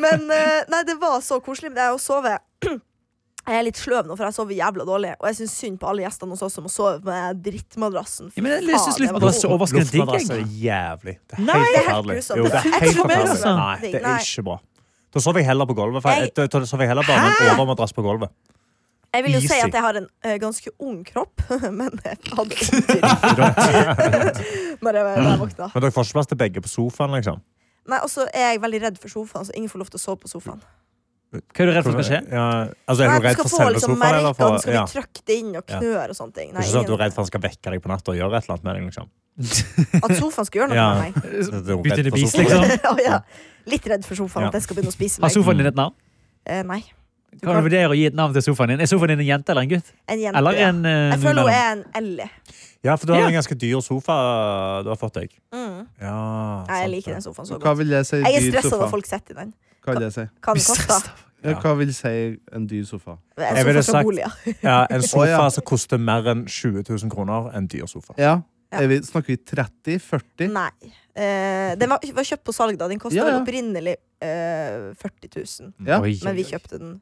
[SPEAKER 2] Men eh, nei, det var så koselig. Men det er å sove Jeg er litt sløv nå, for jeg sover jævla dårlig. Og jeg syns synd på alle gjestene hos oss som må sove med drittmadrassen.
[SPEAKER 5] Ja, men jeg
[SPEAKER 2] Faen, det
[SPEAKER 5] synes
[SPEAKER 2] var
[SPEAKER 5] luftmadrass
[SPEAKER 2] vondt.
[SPEAKER 5] er overraskende digg.
[SPEAKER 3] Luftmadrass er
[SPEAKER 5] jeg.
[SPEAKER 3] jævlig. Det
[SPEAKER 5] Nei,
[SPEAKER 2] det er
[SPEAKER 3] er helt
[SPEAKER 2] helt
[SPEAKER 3] forferdelig.
[SPEAKER 2] grusomt.
[SPEAKER 3] Jo, det er helt
[SPEAKER 5] for meg,
[SPEAKER 3] forferdelig.
[SPEAKER 5] altså.
[SPEAKER 3] Nei, det
[SPEAKER 2] sånn. Nei.
[SPEAKER 3] er ikke bra. Da sover jeg heller på gulvet. for jeg- Da sover jeg heller bare med en overmadrass på gulvet.
[SPEAKER 2] Jeg vil jo si
[SPEAKER 3] Easy.
[SPEAKER 2] at jeg har en eh, ganske ung kropp, men jeg hadde ikke kropp når jeg, når jeg våkna.
[SPEAKER 3] Men dere får ikke plass til begge på sofaen, liksom.
[SPEAKER 2] Nei, Og så er jeg veldig redd for sofaen, så ingen får lov til å sove på sofaen.
[SPEAKER 5] Hva er du redd for skal skje?
[SPEAKER 3] Ja, altså, er
[SPEAKER 2] Nei,
[SPEAKER 3] du redd for selve
[SPEAKER 2] liksom,
[SPEAKER 3] sofaen? Eller
[SPEAKER 2] merkene,
[SPEAKER 3] for,
[SPEAKER 2] skal
[SPEAKER 3] ja.
[SPEAKER 2] bli trykt det inn og
[SPEAKER 3] Ja.
[SPEAKER 2] knør og sånne ting.
[SPEAKER 3] Det er
[SPEAKER 2] Nei,
[SPEAKER 3] ikke sånn at du
[SPEAKER 2] ingen-
[SPEAKER 3] er redd for han skal vekke deg på natta og gjøre et eller annet med deg, liksom.
[SPEAKER 2] at sofaen skal gjøre noe
[SPEAKER 3] Ja.
[SPEAKER 2] med meg.
[SPEAKER 3] Du er
[SPEAKER 5] Bytte
[SPEAKER 3] redd
[SPEAKER 5] inn i
[SPEAKER 3] for
[SPEAKER 5] bis,
[SPEAKER 3] sofaen.
[SPEAKER 5] liksom?
[SPEAKER 2] Å, ja. Litt redd for sofaen,
[SPEAKER 3] Ja.
[SPEAKER 2] at jeg skal begynne å spise
[SPEAKER 5] Har
[SPEAKER 2] meg.
[SPEAKER 5] sofaen din et navn?
[SPEAKER 2] Eh, nei. Du
[SPEAKER 5] Kan du vurdere å gi et navn til sofaen din? Er sofaen din en jente eller en gutt?
[SPEAKER 2] En jente.
[SPEAKER 5] Eller
[SPEAKER 2] ja.
[SPEAKER 5] en eh,
[SPEAKER 2] Jeg
[SPEAKER 5] noen
[SPEAKER 2] føler hun
[SPEAKER 5] mellom?
[SPEAKER 2] er en Ellie.
[SPEAKER 3] Ja, for du har
[SPEAKER 5] Ja.
[SPEAKER 3] en ganske dyr sofa eh, du har fått deg.
[SPEAKER 2] Mm. Nei,
[SPEAKER 3] Ja,
[SPEAKER 2] jeg
[SPEAKER 3] sant
[SPEAKER 2] liker
[SPEAKER 3] det.
[SPEAKER 2] den sofaen så
[SPEAKER 4] Hva
[SPEAKER 2] godt.
[SPEAKER 4] vil jeg si?
[SPEAKER 2] Jeg er
[SPEAKER 4] dyr
[SPEAKER 2] stressa
[SPEAKER 4] sofa?
[SPEAKER 2] når folk sitter i den.
[SPEAKER 4] Hva vil jeg si?
[SPEAKER 2] Hva den
[SPEAKER 5] Stress,
[SPEAKER 2] koster.
[SPEAKER 5] da.
[SPEAKER 4] Ja, hva vil si en dyr sofa?
[SPEAKER 2] En
[SPEAKER 3] Jeg
[SPEAKER 2] sofa
[SPEAKER 3] ville
[SPEAKER 2] fra
[SPEAKER 3] sagt-
[SPEAKER 2] Bolia.
[SPEAKER 3] Ja, en sofa
[SPEAKER 4] Å, ja.
[SPEAKER 3] som koster mer enn 20 000 kroner, en dyr sofa.
[SPEAKER 4] Ja,
[SPEAKER 2] Ja.
[SPEAKER 4] Er vi, Snakker vi 30? 40?
[SPEAKER 2] Nei. Eh, den var, var kjøpt på salg, da. Den kosta
[SPEAKER 4] Ja, ja.
[SPEAKER 2] vel opprinnelig eh, 40 000,
[SPEAKER 4] Ja.
[SPEAKER 5] Oi.
[SPEAKER 2] men vi kjøpte den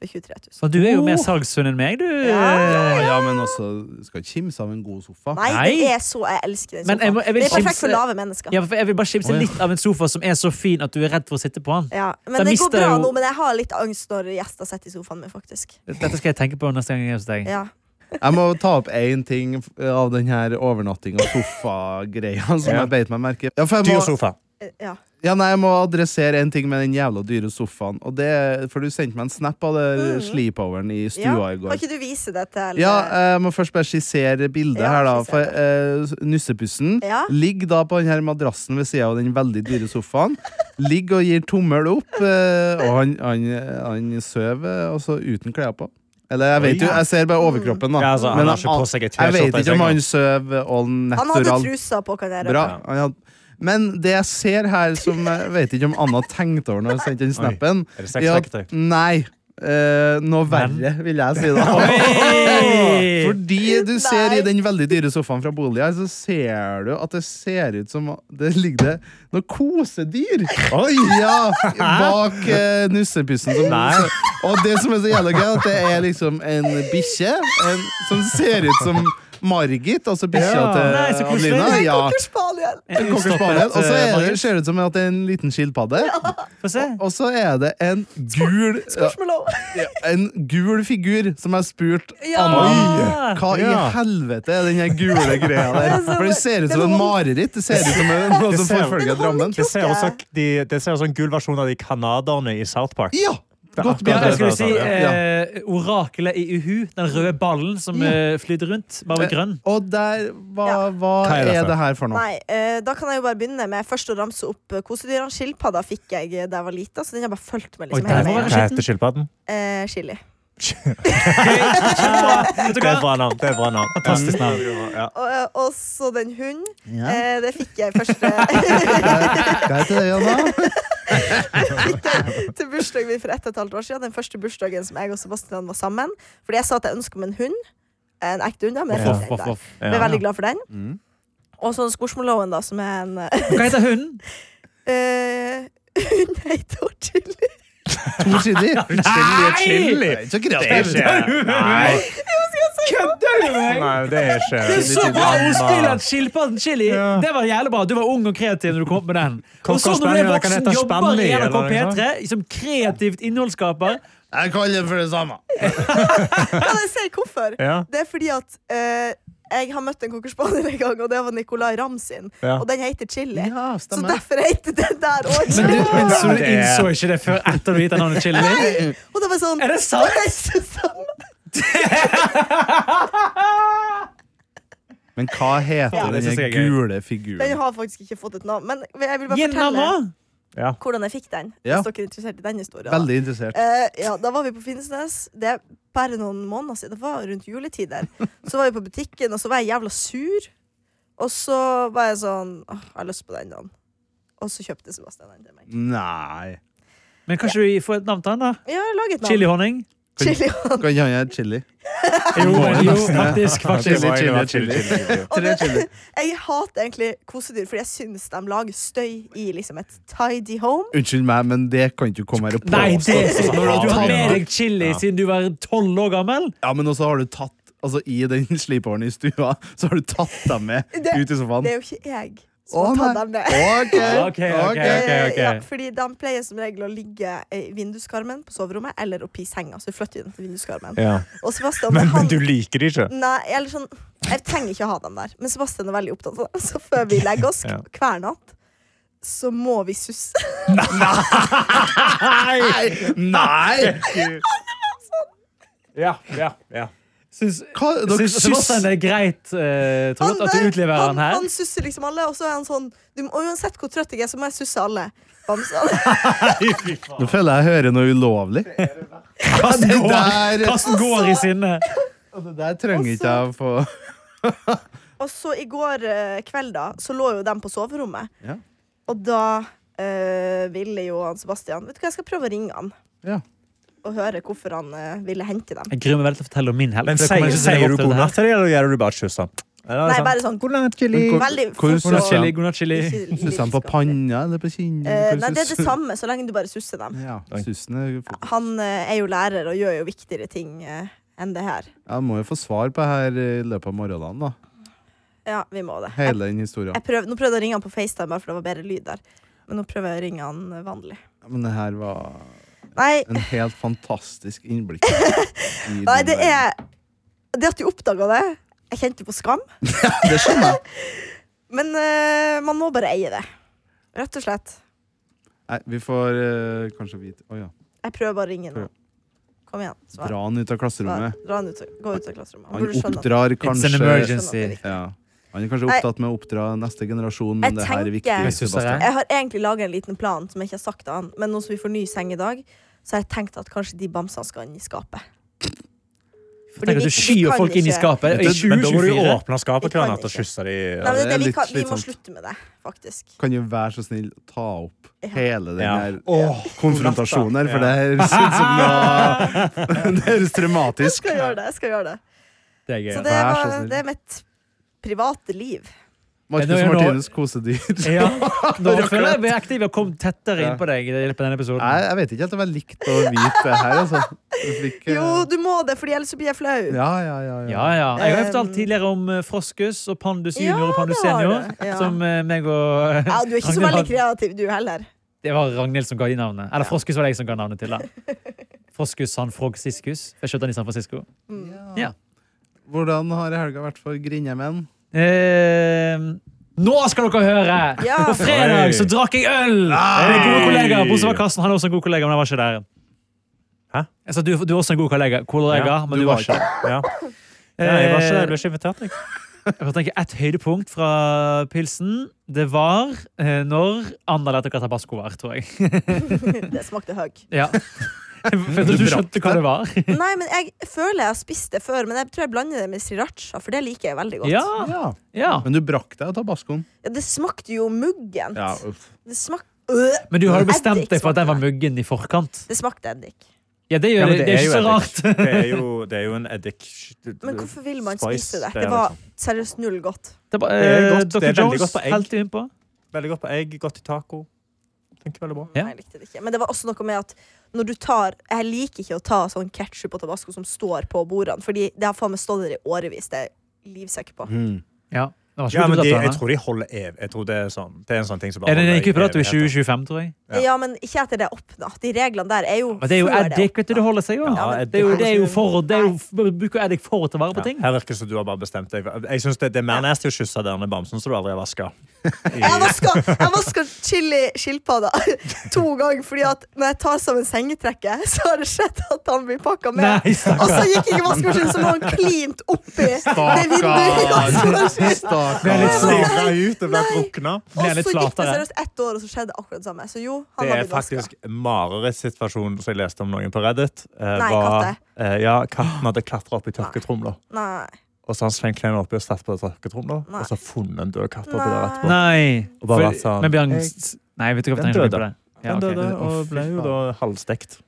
[SPEAKER 2] for 23 000.
[SPEAKER 5] Så du er jo mer salgshund enn meg, du.
[SPEAKER 2] Ja.
[SPEAKER 4] Ja, ja, men altså, du skal ikke kimse av en god sofa.
[SPEAKER 2] Nei,
[SPEAKER 5] Nei.
[SPEAKER 2] det er så Jeg elsker den
[SPEAKER 5] Men jeg
[SPEAKER 2] sofaen.
[SPEAKER 5] må- jeg vil
[SPEAKER 2] Det er perfekt
[SPEAKER 5] kimse-
[SPEAKER 2] for lave mennesker.
[SPEAKER 5] Ja, for jeg vil bare skimse
[SPEAKER 4] Å, ja.
[SPEAKER 5] litt av en sofa som er så fin at du er redd for å sitte på den.
[SPEAKER 2] Ja,
[SPEAKER 5] Da
[SPEAKER 2] men det
[SPEAKER 5] mister
[SPEAKER 2] går bra
[SPEAKER 5] jeg jo-
[SPEAKER 2] nå, men jeg har litt angst når gjester sitter i sofaen min, faktisk.
[SPEAKER 5] Dette skal jeg tenke på neste gang jeg er hos deg.
[SPEAKER 2] Ja.
[SPEAKER 4] Jeg må ta opp én ting av den her overnatting og sofa-greia som
[SPEAKER 3] Ja.
[SPEAKER 4] jeg beit meg merke i. Ja, for jeg
[SPEAKER 3] Dyr
[SPEAKER 4] må,
[SPEAKER 3] sofa.
[SPEAKER 2] Eh, ja.
[SPEAKER 4] ja, nei, jeg må adressere en ting med den jævla dyre sofaen. Og det, for du sendte meg en snap av det sleepoveren i
[SPEAKER 2] Mm. ja.
[SPEAKER 4] stua i
[SPEAKER 2] Kan
[SPEAKER 4] går.
[SPEAKER 2] ikke du vise det til
[SPEAKER 4] Ja, eh, jeg må først bare skissere bildet
[SPEAKER 2] Ja,
[SPEAKER 4] her, da.
[SPEAKER 2] skisser
[SPEAKER 4] For eh, Nussepussen
[SPEAKER 2] Ja.
[SPEAKER 4] ligger da på den her madrassen ved sida av den veldig dyre sofaen. Ligger og gir tommel opp, eh, og han, han, han sover altså uten klær på. Eller jeg vet jo, jeg ser bare overkroppen, da.
[SPEAKER 3] Ja, altså, han
[SPEAKER 4] Men
[SPEAKER 3] har ikke på seg et
[SPEAKER 4] jeg vet
[SPEAKER 3] T-skjorte i
[SPEAKER 4] ikke om
[SPEAKER 3] senga.
[SPEAKER 4] han sover all
[SPEAKER 2] Han hadde
[SPEAKER 4] natural.
[SPEAKER 2] trusa på, kan jeg røpe.
[SPEAKER 4] Bra. Han hadde... Men det jeg ser her, som jeg vet ikke om Anna tenkte over når jeg sendte den snappen
[SPEAKER 3] Er det sexleketøy?
[SPEAKER 4] at- Nei. eh, noe verre, vil jeg si da.
[SPEAKER 5] Oi!
[SPEAKER 4] Fordi du ser
[SPEAKER 2] Nei.
[SPEAKER 4] i den veldig dyre sofaen fra boligen her, så ser du at det ser ut som det ligger det noe kosedyr Ja, bak eh, nussepussen. Som,
[SPEAKER 3] Nei.
[SPEAKER 4] og det som er så jævla gøy, er at det er liksom en bikkje en, som ser ut som Margit, altså bikkja
[SPEAKER 3] Ja.
[SPEAKER 5] Nei, så
[SPEAKER 4] til
[SPEAKER 5] koselig.
[SPEAKER 4] Adelina.
[SPEAKER 2] Nei,
[SPEAKER 4] Ja.
[SPEAKER 2] Cocker Spaniel!
[SPEAKER 5] En
[SPEAKER 4] Cocker
[SPEAKER 5] utstoppet,
[SPEAKER 4] Spaniel. Og så er
[SPEAKER 5] Margit.
[SPEAKER 4] det, ser det ut som at det er en liten skilpadde.
[SPEAKER 5] Få se.
[SPEAKER 4] Og så er det en gul
[SPEAKER 2] Marshmallow.
[SPEAKER 4] ja, En gul figur som jeg spurte
[SPEAKER 2] Ja.
[SPEAKER 4] Anna Hva i
[SPEAKER 3] Ja.
[SPEAKER 4] helvete er den her gule greia der?
[SPEAKER 2] Det er så-
[SPEAKER 4] For det ser ut
[SPEAKER 2] det er
[SPEAKER 4] som en
[SPEAKER 2] noe-
[SPEAKER 4] mareritt. Det ser ut som en- noe som
[SPEAKER 3] Det ser-
[SPEAKER 4] forfølger Drammen.
[SPEAKER 3] Det ser ut som de- det ser ut som en gul versjon av de canadierne i South Park.
[SPEAKER 4] Ja! Godt
[SPEAKER 5] Ja, jeg
[SPEAKER 4] bilde.
[SPEAKER 5] skulle si
[SPEAKER 4] Ja.
[SPEAKER 5] eh, Orakelet i Uhu. Den røde ballen som
[SPEAKER 4] Ja.
[SPEAKER 5] eh, flyter rundt, bare med grønn.
[SPEAKER 4] Og der Hva,
[SPEAKER 2] Ja.
[SPEAKER 4] hva
[SPEAKER 3] Hva er det
[SPEAKER 4] er
[SPEAKER 3] for?
[SPEAKER 4] det her for noe?
[SPEAKER 2] Nei, eh, da kan jeg jo bare begynne med først å ramse opp eh, kosedyrene. Skilpadda fikk jeg eh, da jeg var lita, så den har bare fulgt meg
[SPEAKER 5] Oi,
[SPEAKER 2] liksom,
[SPEAKER 5] der
[SPEAKER 2] hele
[SPEAKER 5] var
[SPEAKER 3] Hva
[SPEAKER 5] det
[SPEAKER 2] veien.
[SPEAKER 3] heter skilpadden?
[SPEAKER 2] Eh, chili.
[SPEAKER 5] Vet du
[SPEAKER 3] Det er et
[SPEAKER 5] hva?
[SPEAKER 3] bra navn. Det er et bra navn.
[SPEAKER 5] Fantastisk
[SPEAKER 2] Mm.
[SPEAKER 5] navn.
[SPEAKER 3] Ja.
[SPEAKER 2] Og, eh, og så den hunden.
[SPEAKER 4] Ja.
[SPEAKER 2] Eh, det fikk jeg først eh,
[SPEAKER 4] Hva heter det, Anna?
[SPEAKER 2] til bursdagen min for ett og et halvt år siden. Den første bursdagen som jeg og Sebastian var sammen. Fordi jeg sa at jeg ønsker meg en hund. En ekte hund, da. Men jeg
[SPEAKER 5] Voff,
[SPEAKER 2] fikk den
[SPEAKER 5] voff,
[SPEAKER 2] der.
[SPEAKER 5] voff. Mm.
[SPEAKER 2] Jeg er
[SPEAKER 3] Ja.
[SPEAKER 2] veldig glad for den. Og så Skorsmoloen, da, som er en eh,
[SPEAKER 5] Hva heter hunden?
[SPEAKER 2] eh, Hun heter Chili.
[SPEAKER 4] To chili?
[SPEAKER 3] Chili, chili.
[SPEAKER 4] Nei, Så
[SPEAKER 3] Det er
[SPEAKER 4] kreativt.
[SPEAKER 3] ikke Nei.
[SPEAKER 5] Kødder du med meg?!
[SPEAKER 3] Nei, det er ikke
[SPEAKER 5] Det er så bra ordspill
[SPEAKER 3] Mamma.
[SPEAKER 5] at skilpadden chili
[SPEAKER 3] Ja.
[SPEAKER 5] Det var jævlig bra. Du var ung og kreativ når du kom opp med den.
[SPEAKER 3] Cocker
[SPEAKER 5] Og så når du er
[SPEAKER 3] Spaniel, kan
[SPEAKER 5] voksen,
[SPEAKER 3] hete
[SPEAKER 5] jobber i
[SPEAKER 3] Spanny,
[SPEAKER 5] NRK
[SPEAKER 3] eller noe
[SPEAKER 5] P3 som kreativt innholdsskaper.
[SPEAKER 4] Jeg kaller det for det samme.
[SPEAKER 2] Ja, jeg ser hvorfor.
[SPEAKER 3] Ja.
[SPEAKER 2] Det er fordi at eh, jeg har møtt en cocker spaniel en gang, og det var Nicolay Ramm sin.
[SPEAKER 3] Ja.
[SPEAKER 2] Og den heter Chili.
[SPEAKER 4] Ja,
[SPEAKER 2] så
[SPEAKER 4] stemmer.
[SPEAKER 2] derfor heter den der òg
[SPEAKER 5] Men du,
[SPEAKER 2] Chili.
[SPEAKER 5] men så du
[SPEAKER 3] Det er-
[SPEAKER 5] innså ikke det før etter du gitt deg navnet Chili?
[SPEAKER 2] Og det var sånn
[SPEAKER 5] Er det sant?
[SPEAKER 2] Det er så sant.
[SPEAKER 4] Men hva
[SPEAKER 3] Ja,
[SPEAKER 4] heter
[SPEAKER 3] det synes
[SPEAKER 4] den
[SPEAKER 3] jeg er gøy.
[SPEAKER 4] gule
[SPEAKER 2] Den
[SPEAKER 4] figuren?
[SPEAKER 2] har faktisk ikke fått et navn. Men jeg vil bare
[SPEAKER 5] Gi en navn
[SPEAKER 2] fortelle
[SPEAKER 5] også.
[SPEAKER 2] hvordan jeg fikk den.
[SPEAKER 4] Ja.
[SPEAKER 2] Hvis dere er interessert i den historien. da.
[SPEAKER 4] Veldig interessert.
[SPEAKER 2] Eh, ja, da var vi på Finnsnes. Det er bare noen måneder siden. Det var rundt juletider. Så var vi på butikken, og så var jeg jævla sur. Og så var jeg sånn Åh, jeg har lyst på den. da." Og så kjøpte Sebastian den til meg.
[SPEAKER 4] Nei.
[SPEAKER 5] Men kanskje vi får et navn til han, da?
[SPEAKER 2] Ja, lag et navn.
[SPEAKER 5] Chilihonning?
[SPEAKER 2] Chili.
[SPEAKER 4] Kan ikke han hete chili?
[SPEAKER 5] Jo,
[SPEAKER 4] men-
[SPEAKER 5] jo, faktisk. faktisk.
[SPEAKER 4] Chili, chili, chili.
[SPEAKER 2] Og
[SPEAKER 4] Tre chili.
[SPEAKER 2] det, jeg hater egentlig kosedyr, fordi jeg syns de lager støy i liksom et tidy home.
[SPEAKER 4] Unnskyld meg, men det kan ikke du komme her og
[SPEAKER 5] Nei,
[SPEAKER 4] påstå.
[SPEAKER 5] det
[SPEAKER 4] Altså, når
[SPEAKER 5] Du har
[SPEAKER 4] tatt-
[SPEAKER 5] med deg chili
[SPEAKER 3] Ja.
[SPEAKER 5] siden du var tolv år gammel?
[SPEAKER 4] Ja, men også har du tatt Altså, I den sleepoveren i stua Så har du tatt dem med
[SPEAKER 2] Det-
[SPEAKER 4] ut i sofaen.
[SPEAKER 2] Det er jo ikke jeg
[SPEAKER 4] Å,
[SPEAKER 2] som har tatt
[SPEAKER 4] nei.
[SPEAKER 2] dem ned.
[SPEAKER 4] Ok,
[SPEAKER 5] Ok, ok,
[SPEAKER 4] ok.
[SPEAKER 5] ok.
[SPEAKER 2] Eh, Ja, fordi de pleier som regel å ligge i vinduskarmen på soverommet eller oppi senga. Så vi flytter den til vinduskarmen. Og Sebastian,
[SPEAKER 3] Men,
[SPEAKER 2] han,
[SPEAKER 3] men du liker det ikke?
[SPEAKER 2] Nei, eller sånn Jeg trenger ikke å ha dem der, men Sebastian er veldig opptatt av det. Så før vi legger oss
[SPEAKER 3] Ja.
[SPEAKER 2] hver natt, så må vi susse.
[SPEAKER 4] Nei! Nei!
[SPEAKER 3] Ja, ja, ja.
[SPEAKER 5] Syns
[SPEAKER 4] Hva, dere
[SPEAKER 5] syns Sebastian
[SPEAKER 4] syss...
[SPEAKER 5] det er greit, eh, Trond, at
[SPEAKER 2] der,
[SPEAKER 5] du utleverer
[SPEAKER 2] han,
[SPEAKER 5] han her?
[SPEAKER 2] han susser liksom alle, og så er han sånn du, må- Uansett hvor trøtt jeg er, så må jeg susse alle. Bamsene.
[SPEAKER 4] Nå føler jeg jeg hører noe ulovlig.
[SPEAKER 5] Karsten
[SPEAKER 4] det
[SPEAKER 5] går,
[SPEAKER 4] der-
[SPEAKER 5] Karsten går i sinne.
[SPEAKER 4] Det der trenger ikke jeg å få
[SPEAKER 2] Og så i går eh, kveld, da, så lå jo dem på soverommet.
[SPEAKER 4] Ja.
[SPEAKER 2] Og da eh, ville jo han Sebastian Vet du hva, jeg skal prøve å ringe han.
[SPEAKER 4] Ja.
[SPEAKER 2] og høre hvorfor han eh, ville hente dem.
[SPEAKER 5] Jeg gruer meg veldig til å fortelle om min helg.
[SPEAKER 3] Men
[SPEAKER 5] for det kommer
[SPEAKER 3] sier,
[SPEAKER 5] jeg ikke til å
[SPEAKER 3] sier
[SPEAKER 5] leve opp
[SPEAKER 3] du
[SPEAKER 5] til det
[SPEAKER 3] god
[SPEAKER 5] her.
[SPEAKER 3] natt til dem, eller gjør du bare kyss? da? Eller er det
[SPEAKER 2] Nei,
[SPEAKER 3] sant?
[SPEAKER 2] bare sånn
[SPEAKER 3] God natt, Chili.
[SPEAKER 4] Men hvor-
[SPEAKER 2] veldig
[SPEAKER 4] hvor
[SPEAKER 2] fort
[SPEAKER 5] God natt,
[SPEAKER 2] og-
[SPEAKER 5] chili. God natt, chili.
[SPEAKER 2] Ikke
[SPEAKER 4] Susse han på
[SPEAKER 2] lidenskapelig.
[SPEAKER 4] panna eller på kinnet?
[SPEAKER 2] Eh,
[SPEAKER 4] Hvor
[SPEAKER 2] nei, det er det
[SPEAKER 4] suss-
[SPEAKER 2] samme, så lenge du bare susser dem.
[SPEAKER 4] Ja, sussen er jo fort.
[SPEAKER 2] Han eh, er jo lærer og gjør jo viktigere ting eh, enn det her.
[SPEAKER 4] Jeg må jo få svar på det her i løpet av morgendagen, da.
[SPEAKER 2] Ja, vi må det. Jeg,
[SPEAKER 4] Hele den historien.
[SPEAKER 2] jeg prøv, nå prøvde jeg å ringe han på FaceTime, bare for det var bedre lyd der. Men nå prøver jeg å ringe han eh, vanlig.
[SPEAKER 4] Men det her var
[SPEAKER 2] Nei,
[SPEAKER 4] en helt fantastisk innblikk. i
[SPEAKER 2] nei
[SPEAKER 4] din
[SPEAKER 2] det
[SPEAKER 4] verden.
[SPEAKER 2] er Det at du oppdaga det Jeg kjente på skam.
[SPEAKER 4] Det skjønner jeg.
[SPEAKER 2] Men eh, man må bare eie det. Rett og slett.
[SPEAKER 4] Nei, vi får eh, kanskje vite Å ja.
[SPEAKER 2] Jeg prøver bare å ringe nå. Kom igjen. Svar.
[SPEAKER 4] Dra han ut av
[SPEAKER 2] Svar.
[SPEAKER 4] klasserommet.
[SPEAKER 2] Dra han ut, gå ut av klasserommet. Han
[SPEAKER 4] Han
[SPEAKER 2] burde skjønne at-
[SPEAKER 4] oppdrar
[SPEAKER 5] It's an
[SPEAKER 4] kanskje
[SPEAKER 5] emergency.
[SPEAKER 4] ja. Han er kanskje
[SPEAKER 2] Nei.
[SPEAKER 4] opptatt med å oppdra neste generasjon,
[SPEAKER 2] Jeg
[SPEAKER 4] men det her er
[SPEAKER 2] tenker-
[SPEAKER 4] viktig.
[SPEAKER 2] Jeg
[SPEAKER 5] synes det er-
[SPEAKER 4] Sebastian.
[SPEAKER 2] Jeg har egentlig laga en liten plan som jeg ikke har sagt til han, men nå som vi får ny seng i dag, så har jeg tenkt at kanskje de bamsene skal inn i skapet. Fordi
[SPEAKER 5] Tenk at
[SPEAKER 2] vi-
[SPEAKER 5] du
[SPEAKER 2] vi
[SPEAKER 5] skyer
[SPEAKER 2] kan
[SPEAKER 5] folk inn i
[SPEAKER 2] ikke-
[SPEAKER 5] skapet. I
[SPEAKER 3] Men da må du jo
[SPEAKER 5] 2024.
[SPEAKER 3] åpne skapet til
[SPEAKER 2] Vi
[SPEAKER 3] henne
[SPEAKER 2] kan
[SPEAKER 3] og
[SPEAKER 2] ikke.
[SPEAKER 3] kysse
[SPEAKER 2] Nei, men
[SPEAKER 3] de
[SPEAKER 2] det,
[SPEAKER 4] Ja,
[SPEAKER 2] er det,
[SPEAKER 4] det er
[SPEAKER 2] vi, kan,
[SPEAKER 4] litt
[SPEAKER 2] vi må
[SPEAKER 4] slitsomt.
[SPEAKER 2] slutte med det, faktisk.
[SPEAKER 4] Kan jo være så snill ta opp hele den
[SPEAKER 3] Ja.
[SPEAKER 4] her
[SPEAKER 3] Åh,
[SPEAKER 4] konfrontasjonen her, for
[SPEAKER 3] Ja.
[SPEAKER 4] det høres ut som noe Det høres
[SPEAKER 2] Jeg
[SPEAKER 4] traumatisk
[SPEAKER 2] skal gjøre det. jeg skal gjøre det
[SPEAKER 5] Det er
[SPEAKER 2] Så
[SPEAKER 5] gøy. ja.
[SPEAKER 2] det,
[SPEAKER 4] Vær så
[SPEAKER 2] var,
[SPEAKER 4] snill.
[SPEAKER 2] det er mitt private liv.
[SPEAKER 4] Marcus
[SPEAKER 5] Men det er jo nå-
[SPEAKER 4] Martinus kosedyr.
[SPEAKER 5] Ja. Nå føler jeg vi er aktive og kom tettere inn på deg i løpet av denne episoden.
[SPEAKER 4] Nei, jeg vet ikke helt om jeg likte å vite det her, altså. Du fikk, eh,
[SPEAKER 2] Jo, du må det, for ellers så blir jeg flau.
[SPEAKER 4] Ja, ja, ja. ja.
[SPEAKER 5] Ja, ja. Jeg har
[SPEAKER 2] Um,
[SPEAKER 5] fortalt tidligere om eh, Froskus og Pandus
[SPEAKER 2] Ja,
[SPEAKER 5] junior og Pandus
[SPEAKER 2] det har
[SPEAKER 5] senior.
[SPEAKER 2] du. Ja.
[SPEAKER 5] Som eh, meg og eh,
[SPEAKER 2] Ja, du er ikke så
[SPEAKER 5] Ragnhild
[SPEAKER 2] veldig
[SPEAKER 5] hadde-
[SPEAKER 2] kreativ, du heller.
[SPEAKER 5] Det var Ragnhild som ga de navnet. Eller Froskus var det jeg som ga navnet til. da. Froskus han Frogsiskus. Jeg skjønte han i San Francisco. Ja.
[SPEAKER 4] Hvordan har helga vært for grindemenn?
[SPEAKER 5] Eh, nå skal dere høre!
[SPEAKER 2] Ja.
[SPEAKER 5] På fredag så drakk jeg øl! Med gode kollegaer. Bortsett fra Karsten, han er også en god kollega, men han var ikke der.
[SPEAKER 3] Hæ?
[SPEAKER 5] Jeg sa du, du er også en god kollega, kollega
[SPEAKER 3] Ja,
[SPEAKER 5] men du, var ikke der.
[SPEAKER 3] Ja. Nei, jeg
[SPEAKER 5] Eh,
[SPEAKER 3] var ikke, jeg ble ikke invitert, jeg.
[SPEAKER 5] Jeg kan tenke Et høydepunkt fra pilsen Det var eh, når Anna lærte hva tabasco var, tror jeg.
[SPEAKER 2] Det smakte høgg.
[SPEAKER 5] Ja. For du skjønte hva det var?
[SPEAKER 2] Nei, men jeg føler jeg har spist det før, men jeg tror jeg blander det med sriracha, for det liker jeg veldig godt.
[SPEAKER 5] Ja,
[SPEAKER 4] Ja.
[SPEAKER 5] ja.
[SPEAKER 4] Men du brakk deg tabascoen.
[SPEAKER 2] Ja, det smakte jo muggent.
[SPEAKER 4] uff.
[SPEAKER 2] Det smak... Øh,
[SPEAKER 5] Men du har jo bestemt
[SPEAKER 2] Eddik
[SPEAKER 5] deg for at den var
[SPEAKER 2] smakte
[SPEAKER 5] muggen i forkant.
[SPEAKER 2] Det smakte eddik.
[SPEAKER 5] Ja, Det,
[SPEAKER 3] Ja,
[SPEAKER 5] gjør,
[SPEAKER 3] men
[SPEAKER 5] det, det er ikke så rart.
[SPEAKER 3] eddik. Det er jo, det er jo en eddik
[SPEAKER 2] Men hvorfor vil man
[SPEAKER 3] Spice,
[SPEAKER 2] spise det?
[SPEAKER 3] det er
[SPEAKER 2] Det var
[SPEAKER 3] liksom-
[SPEAKER 2] seriøst null godt.
[SPEAKER 5] Det var,
[SPEAKER 3] Det er
[SPEAKER 5] eh,
[SPEAKER 3] godt. Det
[SPEAKER 5] Dr.
[SPEAKER 3] er veldig
[SPEAKER 5] Jones
[SPEAKER 3] godt på egg.
[SPEAKER 5] helte vi inn på.
[SPEAKER 3] Veldig godt på egg, godt i taco. Funker veldig bra.
[SPEAKER 5] Ja.
[SPEAKER 2] Nei, jeg likte det ikke. Men det var også noe med at når du tar Jeg liker ikke å ta sånn ketsjup og tabasco som står på bordene, Fordi det har faen meg stått der i årevis. Det er jeg livsikker på.
[SPEAKER 4] Hmm.
[SPEAKER 5] Ja, det var ikke
[SPEAKER 3] Ja,
[SPEAKER 5] godt
[SPEAKER 3] men
[SPEAKER 5] å ta
[SPEAKER 3] de,
[SPEAKER 5] på
[SPEAKER 3] jeg
[SPEAKER 5] henne.
[SPEAKER 3] tror de holder ev. Jeg tror det er, sånn, det er en sånn ting som bare
[SPEAKER 5] Er det
[SPEAKER 3] holder
[SPEAKER 5] ikke på
[SPEAKER 3] i
[SPEAKER 5] dato i
[SPEAKER 3] evigheter.
[SPEAKER 5] 2025, tror jeg?
[SPEAKER 3] Ja.
[SPEAKER 2] Ja, men ikke etter det er åpna. De reglene der er jo
[SPEAKER 5] Men det er jo
[SPEAKER 2] før
[SPEAKER 5] eddik, vet du. Det holder seg jo.
[SPEAKER 2] Ja, men-
[SPEAKER 5] Det er jo, det er jo for, det er jo, f- bruker eddik for å ta vare på ting.
[SPEAKER 3] Ja. Her virker det som du har bare bestemt deg. for- Jeg synes det, det er mer nasty å kysse denne bamsen som du aldri har vaska.
[SPEAKER 2] Jeg vasker, jeg vasker chili skilpadda to ganger, fordi at når jeg tar sammen sengetrekket, så har det skjedd at han blir pakka med.
[SPEAKER 5] Nei, stakkar.
[SPEAKER 2] og så gikk ikke vaskemaskinen, så lå han klint oppi det vinduet.
[SPEAKER 4] Stakkar! Stakkar.
[SPEAKER 5] Det er litt sånn-
[SPEAKER 3] ut, det ble drukna.
[SPEAKER 2] Og
[SPEAKER 5] Ble
[SPEAKER 2] så
[SPEAKER 5] litt
[SPEAKER 2] gikk det
[SPEAKER 5] flatere.
[SPEAKER 2] seriøst ett år, og så skjedde akkurat det samme. Så jo, han
[SPEAKER 3] Det
[SPEAKER 2] har
[SPEAKER 3] er
[SPEAKER 2] blitt vasket.
[SPEAKER 3] faktisk marerittsituasjonen som jeg leste om noen på Reddit. eh,
[SPEAKER 2] Nei,
[SPEAKER 3] var,
[SPEAKER 2] katte.
[SPEAKER 3] eh, ja, katten hadde klatra opp i tørketromla.
[SPEAKER 2] Nei.
[SPEAKER 3] Og så har han slengt klærne oppi og satt på tørketromla.
[SPEAKER 2] Nei.
[SPEAKER 3] Og så funnet en død katt oppi der
[SPEAKER 2] Nei.
[SPEAKER 3] etterpå.
[SPEAKER 5] Nei.
[SPEAKER 3] Og bare vært sånn,
[SPEAKER 5] men Bjørn
[SPEAKER 3] jeg-
[SPEAKER 5] s- Nei, vet du hva
[SPEAKER 3] Den
[SPEAKER 5] jeg tenker på
[SPEAKER 3] døde.
[SPEAKER 5] det? Ja,
[SPEAKER 3] Den
[SPEAKER 5] ok.
[SPEAKER 3] døde og
[SPEAKER 4] Å,
[SPEAKER 3] ble
[SPEAKER 4] fy
[SPEAKER 3] jo da halvstekt.